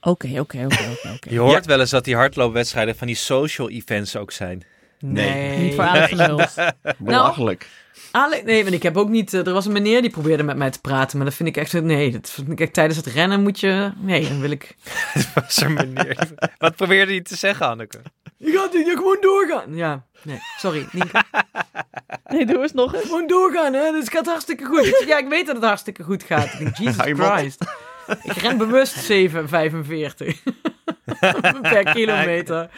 E: Oké, oké, oké, oké,
D: Je
E: oké.
D: hoort wel eens dat die hardloopwedstrijden van die social events ook zijn.
C: Nee.
E: Niet voor Alex van Huls.
C: Belachelijk.
B: Ale- nee, want ik heb ook niet. eh, er was een meneer die probeerde met mij te praten, maar dat vind ik echt. Nee, dat vind ik echt tijdens het rennen moet je. Nee, dan wil ik.
D: Dat was een manier. Wat probeerde je te zeggen, Anneke?
B: Je gaat niet, je gewoon doorgaan. Ja, nee, sorry. Niet,
E: Nee, doe eens nog eens.
B: gewoon doorgaan, hè? Dus het gaat hartstikke goed. Ik zeg, ja, ik weet dat het harstikke goed gaat. Ik denk, Jesus
C: Hou je mond.
B: Christ. Ik ren bewust 7,45 per kilometer.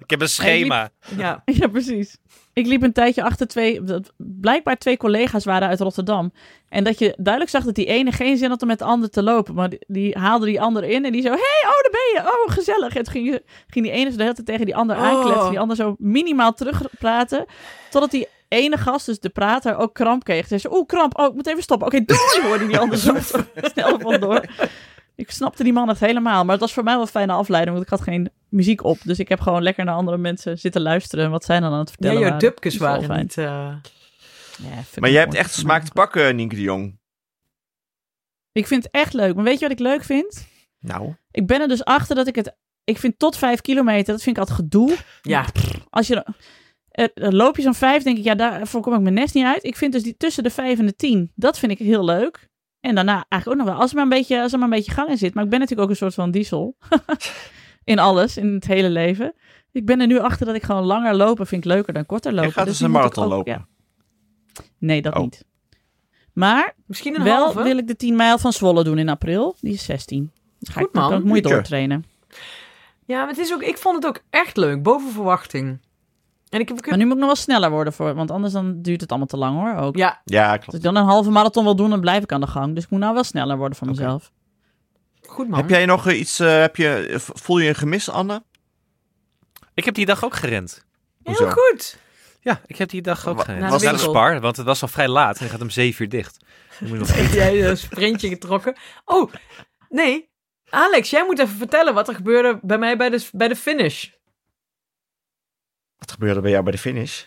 D: Ik heb een schema.
B: Ja,
E: Ja, precies. Ik liep een tijdje achter twee, dat blijkbaar twee collega's waren uit Rotterdam. En dat je duidelijk zag dat die ene geen zin had om met de ander te lopen. Maar die, die haalde die ander in en die zo, hé, hey, oh, daar ben je. Oh, gezellig. En toen ging, je- ging die ene zo de hele tijd tegen die ander
B: Oh.
E: aankletsen. Die ander zo minimaal terugpraten. Totdat die ene gast, dus de prater, ook kramp kreeg. Ze zei, oeh, kramp. Oh, ik moet even stoppen. Oké, doei, hoorde die ander zo snel vandoor. Ik snapte die man echt helemaal. Maar het was voor mij wel een fijne afleiding, want ik had geen muziek op. Dus ik heb gewoon lekker naar andere mensen zitten luisteren. Wat zij dan aan het
B: ja
E: vertellen
B: jouw
E: waren.
B: dupkes
E: Dat is
B: waren
E: wel fijn.
B: niet. eh,
E: Ja, fuck
C: Maar
E: it,
C: jij hebt
E: hoor.
C: echt smaak te pakken, Nienke de Jong.
E: Ik vind het echt leuk. Maar weet je wat ik leuk vind?
C: Nou.
E: Ik ben er dus achter dat ik het... Ik vind tot vijf kilometer, dat vind ik altijd gedoe.
B: ja,
E: Als je... eh, eh, loop je zo'n vijf, denk ik, ja, daarvoor kom ik mijn nest niet uit. Ik vind dus die tussen de vijf en de tien, dat vind ik heel leuk. En daarna eigenlijk ook nog wel, als er maar een beetje, als er maar een beetje gang in zit. Maar ik ben natuurlijk ook een soort van diesel. in alles, in het hele leven. Ik ben er nu achter dat ik gewoon langer lopen vind ik leuker dan korter lopen.
C: Je gaat
E: Dus
C: dus
E: nu
C: een
E: moet ik
C: marathon
E: ook-
C: lopen.
E: ja. Nee, dat
C: Oh.
E: niet. Maar
B: misschien een
E: wel
B: halve.
E: wil ik de 10 mijl van Zwolle doen in april. Die is 16. Dus ga
B: Goed,
E: ik, dan
B: man.
E: kan ik mooi
C: Lekker.
E: doortrainen.
B: Ja, maar het is ook, ik vond het ook echt leuk, boven verwachting. En ik heb, ik heb-
E: Maar nu moet ik nog wel sneller worden, voor, want anders dan duurt het allemaal te lang hoor. Ook.
B: Ja,
C: Ja,
E: Als ik
C: klopt.
E: dan een halve marathon wil doen, dan blijf ik aan de gang. Dus ik moet nou wel sneller worden van mezelf.
B: goed man.
C: Heb jij nog eh, iets? eh, heb je, voel je een gemis, Anne?
D: Ik heb die dag ook gerend.
B: Heel
C: Hoezo?
B: goed.
D: Ja, ik heb die dag ook
C: Wa-
D: gerend.
B: naar
D: Naar
B: de
D: de, naar de
B: winkel.
D: spar, want het was al vrij laat en het gaat om zeven uur dicht. Ik moet nog
B: Heb jij een sprintje getrokken? Oh, nee. Alex, jij moet even vertellen wat er gebeurde bij mij bij de, bij de finish.
C: Wat gebeurde bij jou bij de finish?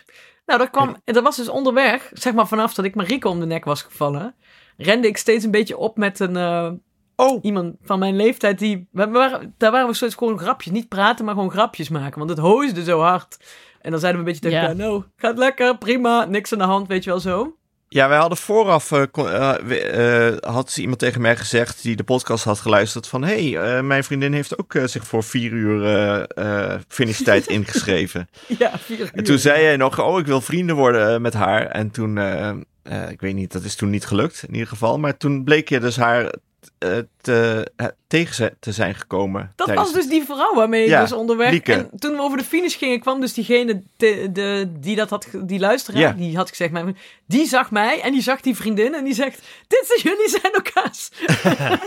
B: Nou, dat kwam, dat was dus onderweg, zeg maar vanaf dat ik Marieke om de nek was gevallen, rende ik steeds een beetje op met een, eh,
C: Oh,
B: iemand van mijn leeftijd die, we waren, daar waren we steeds gewoon grapjes, niet praten, maar gewoon grapjes maken, want het hoosde zo hard. En dan zeiden we een beetje tegen
E: Ja.
B: elkaar, nou, gaat lekker, prima, niks aan de hand, weet je wel zo.
C: ja, wij hadden vooraf, eh, kon- eh, we- eh, had iemand tegen mij gezegd die de podcast had geluisterd van, hey, eh, mijn vriendin heeft ook eh, zich voor vier uur eh eh finishtijd ingeschreven.
B: Ja, vier uur.
C: En toen zei jij nog, oh, ik wil vrienden worden eh, met haar. En toen, eh, eh, ik weet niet, dat is toen niet gelukt in ieder geval. Maar toen bleek je dus haar eh, te, eh, tegen ze- te zijn gekomen.
B: Dat
C: tijdens-
B: was dus die vrouw waarmee ik
C: Ja,
B: was onderweg.
C: Lieke.
B: En toen we over de finish gingen, kwam dus diegene te- de, die dat had, ge- die luisteraar,
C: Ja.
B: die had gezegd, mijn- die zag mij en die zag die vriendin en die zegt, dit zijn jullie zijn elkaars.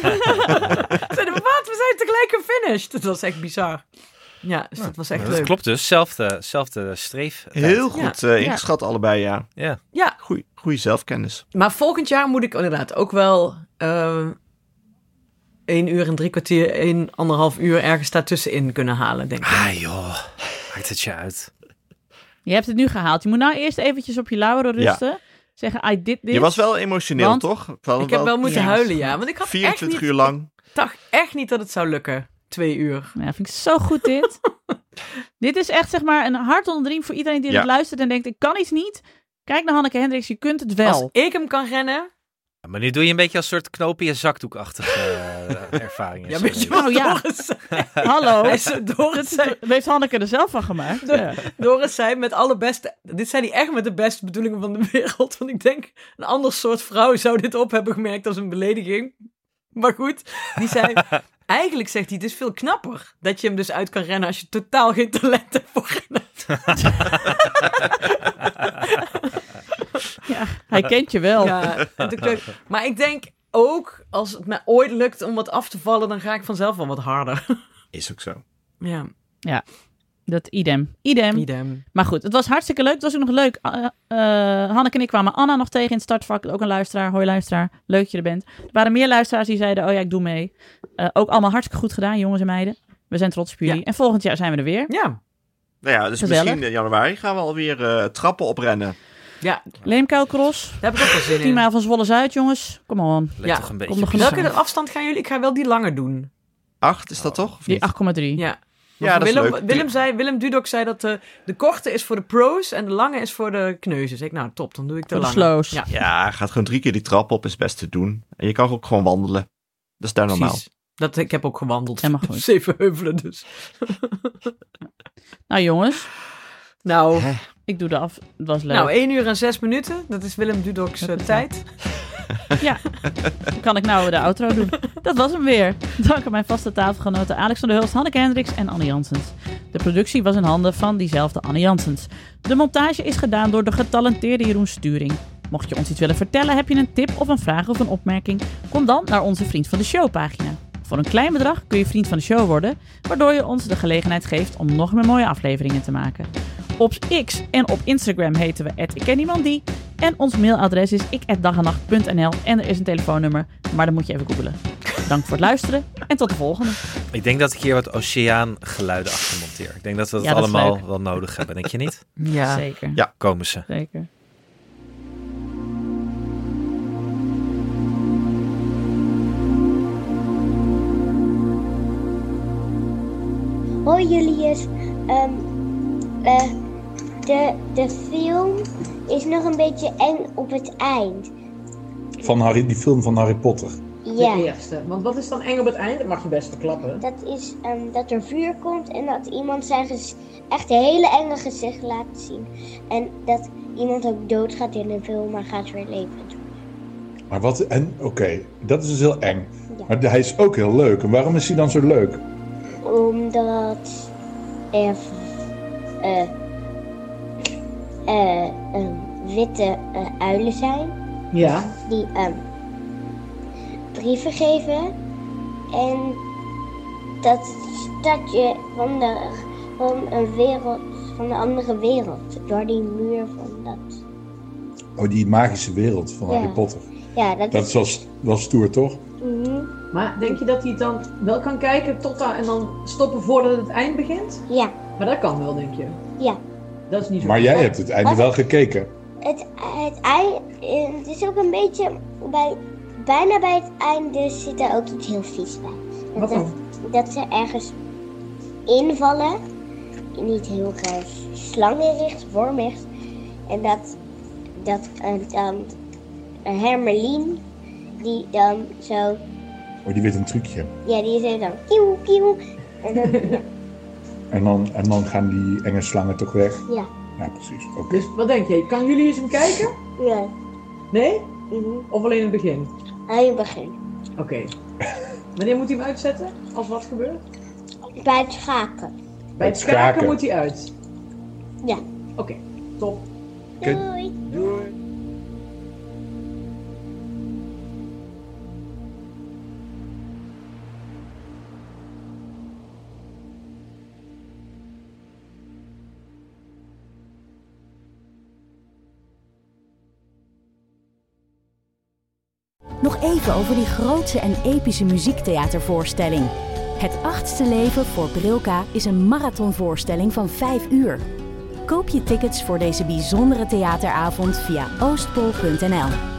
B: Zeiden we, wat, we zijn tegelijk gefinished. Dat was echt bizar. Ja, dus dat was echt
D: dat
B: leuk.
D: klopt dus, zelfde, zelfde streef.
C: Heel
B: Ja,
C: goed eh,
B: ja.
C: ingeschat allebei, ja.
D: Ja.
B: Ja,
C: Goeie, goeie zelfkennis.
B: maar volgend jaar moet ik inderdaad ook wel ehm 1 uur en drie kwartier, 1, anderhalf uur ergens daartussenin kunnen halen, denk ik.
D: Ah joh, maakt het je uit.
E: Je hebt het nu gehaald. Je moet nou eerst eventjes op je lauweren
C: Ja.
E: rusten. Zeggen, I did this.
C: Je was wel emotioneel,
E: Want
C: toch?
B: Ik heb wel moeten
E: Ja.
B: huilen, ja. Want ik had echt
C: 24
B: niet
C: uur lang.
B: dacht echt niet dat het zou lukken. Twee uur.
E: Nou Ja, vind ik zo goed dit. dit is echt zeg maar een hart onder de riem voor iedereen die
C: Ja.
E: dit luistert en denkt, ik kan iets niet. Kijk naar Hanneke Hendricks, je kunt het wel.
B: Als ik hem kan rennen.
D: Ja, Maar nu doe je een beetje als soort knoop in je zakdoekachtige eh, ervaringen.
B: Ja,
D: Zo.
B: weet je wat
E: Oh, ja.
B: Doris zei?
E: Hallo.
B: Hij zei- Doris, zei,
E: Daar heeft Hanneke er zelf van gemaakt. Ja.
B: Doris zei met alle beste... Dit zei hij echt met de beste bedoelingen van de wereld. Want ik denk, een ander soort vrouw zou dit op hebben gemerkt als een belediging. Maar goed, die zei... Eigenlijk zegt hij, het is veel knapper dat je hem dus uit kan rennen als je totaal geen talent hebt voor rennen.
E: Hij kent je wel.
B: Ja, en toen dacht ik, maar ik denk ook, als het mij ooit lukt om wat af te vallen, dan ga ik vanzelf wel wat harder.
C: Is ook zo.
B: Ja.
E: Ja. Dat idem. Idem.
B: Idem.
E: Maar goed, het was hartstikke leuk. Het was ook nog leuk. Eh eh, Hanneke en ik kwamen Anna nog tegen in het startvak. Ook een luisteraar. Hoi luisteraar. Leuk dat je er bent. Er waren meer luisteraars die zeiden, oh ja, ik doe mee. Eh, ook allemaal hartstikke goed gedaan, jongens en meiden. We zijn trots op jullie.
B: Ja.
E: En volgend jaar zijn we er weer.
B: Ja.
C: Nou ja, dus
E: Gezellig.
C: misschien in januari gaan we alweer eh, trappen oprennen.
B: ja,
E: Leemkuilcross.
B: daar heb ik ook wel zin
E: Tien
B: in.
E: mijl van Zwolle Zuid, jongens. Come on.
D: Leek
B: Ja,
D: toch een beetje
E: nog
D: bizar.
B: Welke afstand gaan jullie? Ik ga wel die langer doen.
C: Acht is
B: Oh,
C: dat toch? Of
E: Die
C: niet?
E: 8,3.
B: Ja.
C: Ja,
B: Maar
C: dat is
B: Willem,
C: leuk.
B: Willem, zei, Willem Dudok zei dat de, de korte is voor de pro's en de lange is voor de kneuzen. Zeg ik, nou top, dan doe ik de
E: Voor de
B: lange.
E: slows.
B: Ja,
C: Ja, gaat gewoon drie keer die trap op, is best te doen. En je kan ook gewoon wandelen. Dat is daar normaal.
B: precies. Dat, ik heb ook gewandeld.
E: Helemaal goed.
B: Zeven heuvelen dus.
E: Nou jongens,
B: Nou,
E: ik doe de af. Het was leuk.
B: nou, 1 uur en 6 minuten. Dat is Willem Dudok's eh,
E: Dat is
B: tijd.
E: Kan ik nou de outro doen? Dat was hem weer. Dank aan mijn vaste tafelgenoten Alex van der Hulst, Hanneke Hendricks en Annie Jansens. De productie was in handen van diezelfde Annie Jansens. De montage is gedaan door de getalenteerde Jeroen Sturing. Mocht je ons iets willen vertellen, heb je een tip of een vraag of een opmerking? Kom dan naar onze Vriend van de Show pagina. Voor een klein bedrag kun je Vriend van de Show worden, waardoor je ons de gelegenheid geeft om nog meer mooie afleveringen te maken. Op X en op Instagram heten we @ikkenniemandie. En ons mailadres is ik@dagenacht.nl en er is een telefoonnummer, maar dat moet je even googelen. Dank voor het luisteren en tot de volgende.
D: Ik denk dat ik hier wat oceaangeluiden achter monteer. Ik denk dat we dat
E: Ja, dat is
D: allemaal
E: leuk.
D: wel nodig hebben, denk je niet?
B: Ja.
E: Zeker.
C: Ja.
D: Komen ze.
E: Zeker.
H: Hoi Julius, Ehm, eh, de, de film is nog een beetje eng op het eind.
I: Van Harry, die film van Harry Potter.
H: Ja,
J: eerste. Want wat is dan eng op het eind? Dat mag je best verklappen.
H: dat is ehm, dat er vuur komt en dat iemand zijn gez- echt hele enge gezicht laat zien. En dat iemand ook doodgaat in een film, maar gaat weer levend.
I: Maar wat, en oké, dat is dus heel eng.
H: Ja.
I: Maar hij is ook heel leuk. En waarom is hij dan zo leuk?
H: Omdat er eh, eh, ehm, witte eh, uilen zijn.
J: Ja.
H: die ehm, brieven geven. En dat het stadje van, de, van, een wereld, van de andere wereld, door die muur van dat.
I: Oh, die magische wereld van
H: Ja.
I: Harry Potter.
H: Ja, dat,
I: Dat is wel, st- wel stoer, toch?
H: Mhm.
J: Maar denk je dat hij het dan wel kan kijken tot daar en dan stoppen voordat het eind begint?
H: Ja,
J: Maar dat kan wel, denk je.
H: ja.
J: Dat is niet zo.
I: Maar jij hebt het einde wel gekeken.
H: Het, het, ei, eh, het is ook een beetje, bij, bijna bij het einde zit er ook iets heel vies bij.
J: Wat
H: Dat,
J: dan?
H: dat ze ergens invallen, niet heel raar, slangenricht, wormricht. En dat, dat een, dan een Hermeline, die dan zo,
I: Oh, die weet een trucje.
H: ja die is dan kieuw, kieuw. En dan, ja,
I: En dan, en dan gaan die enge slangen toch weg.
H: ja,
I: Ja, precies. Oké.
J: Dus wat denk je? Kan jullie eens hem kijken?
H: ja.
J: Nee?
H: mhm.
J: Of alleen in het begin?
H: Aan je begin.
J: Oké. Wanneer moet hij hem uitzetten? Als wat gebeurt?
H: Bij het schaken.
J: Bij het schaken,
I: schaken.
J: moet hij uit.
H: Ja.
J: Oké, top.
I: Oké.
H: Doei.
A: Nog even over die grootse en epische muziektheatervoorstelling. Het achtste leven voor Brilka is een marathonvoorstelling van 5 uur. Koop je tickets voor deze bijzondere theateravond via oostpol.nl.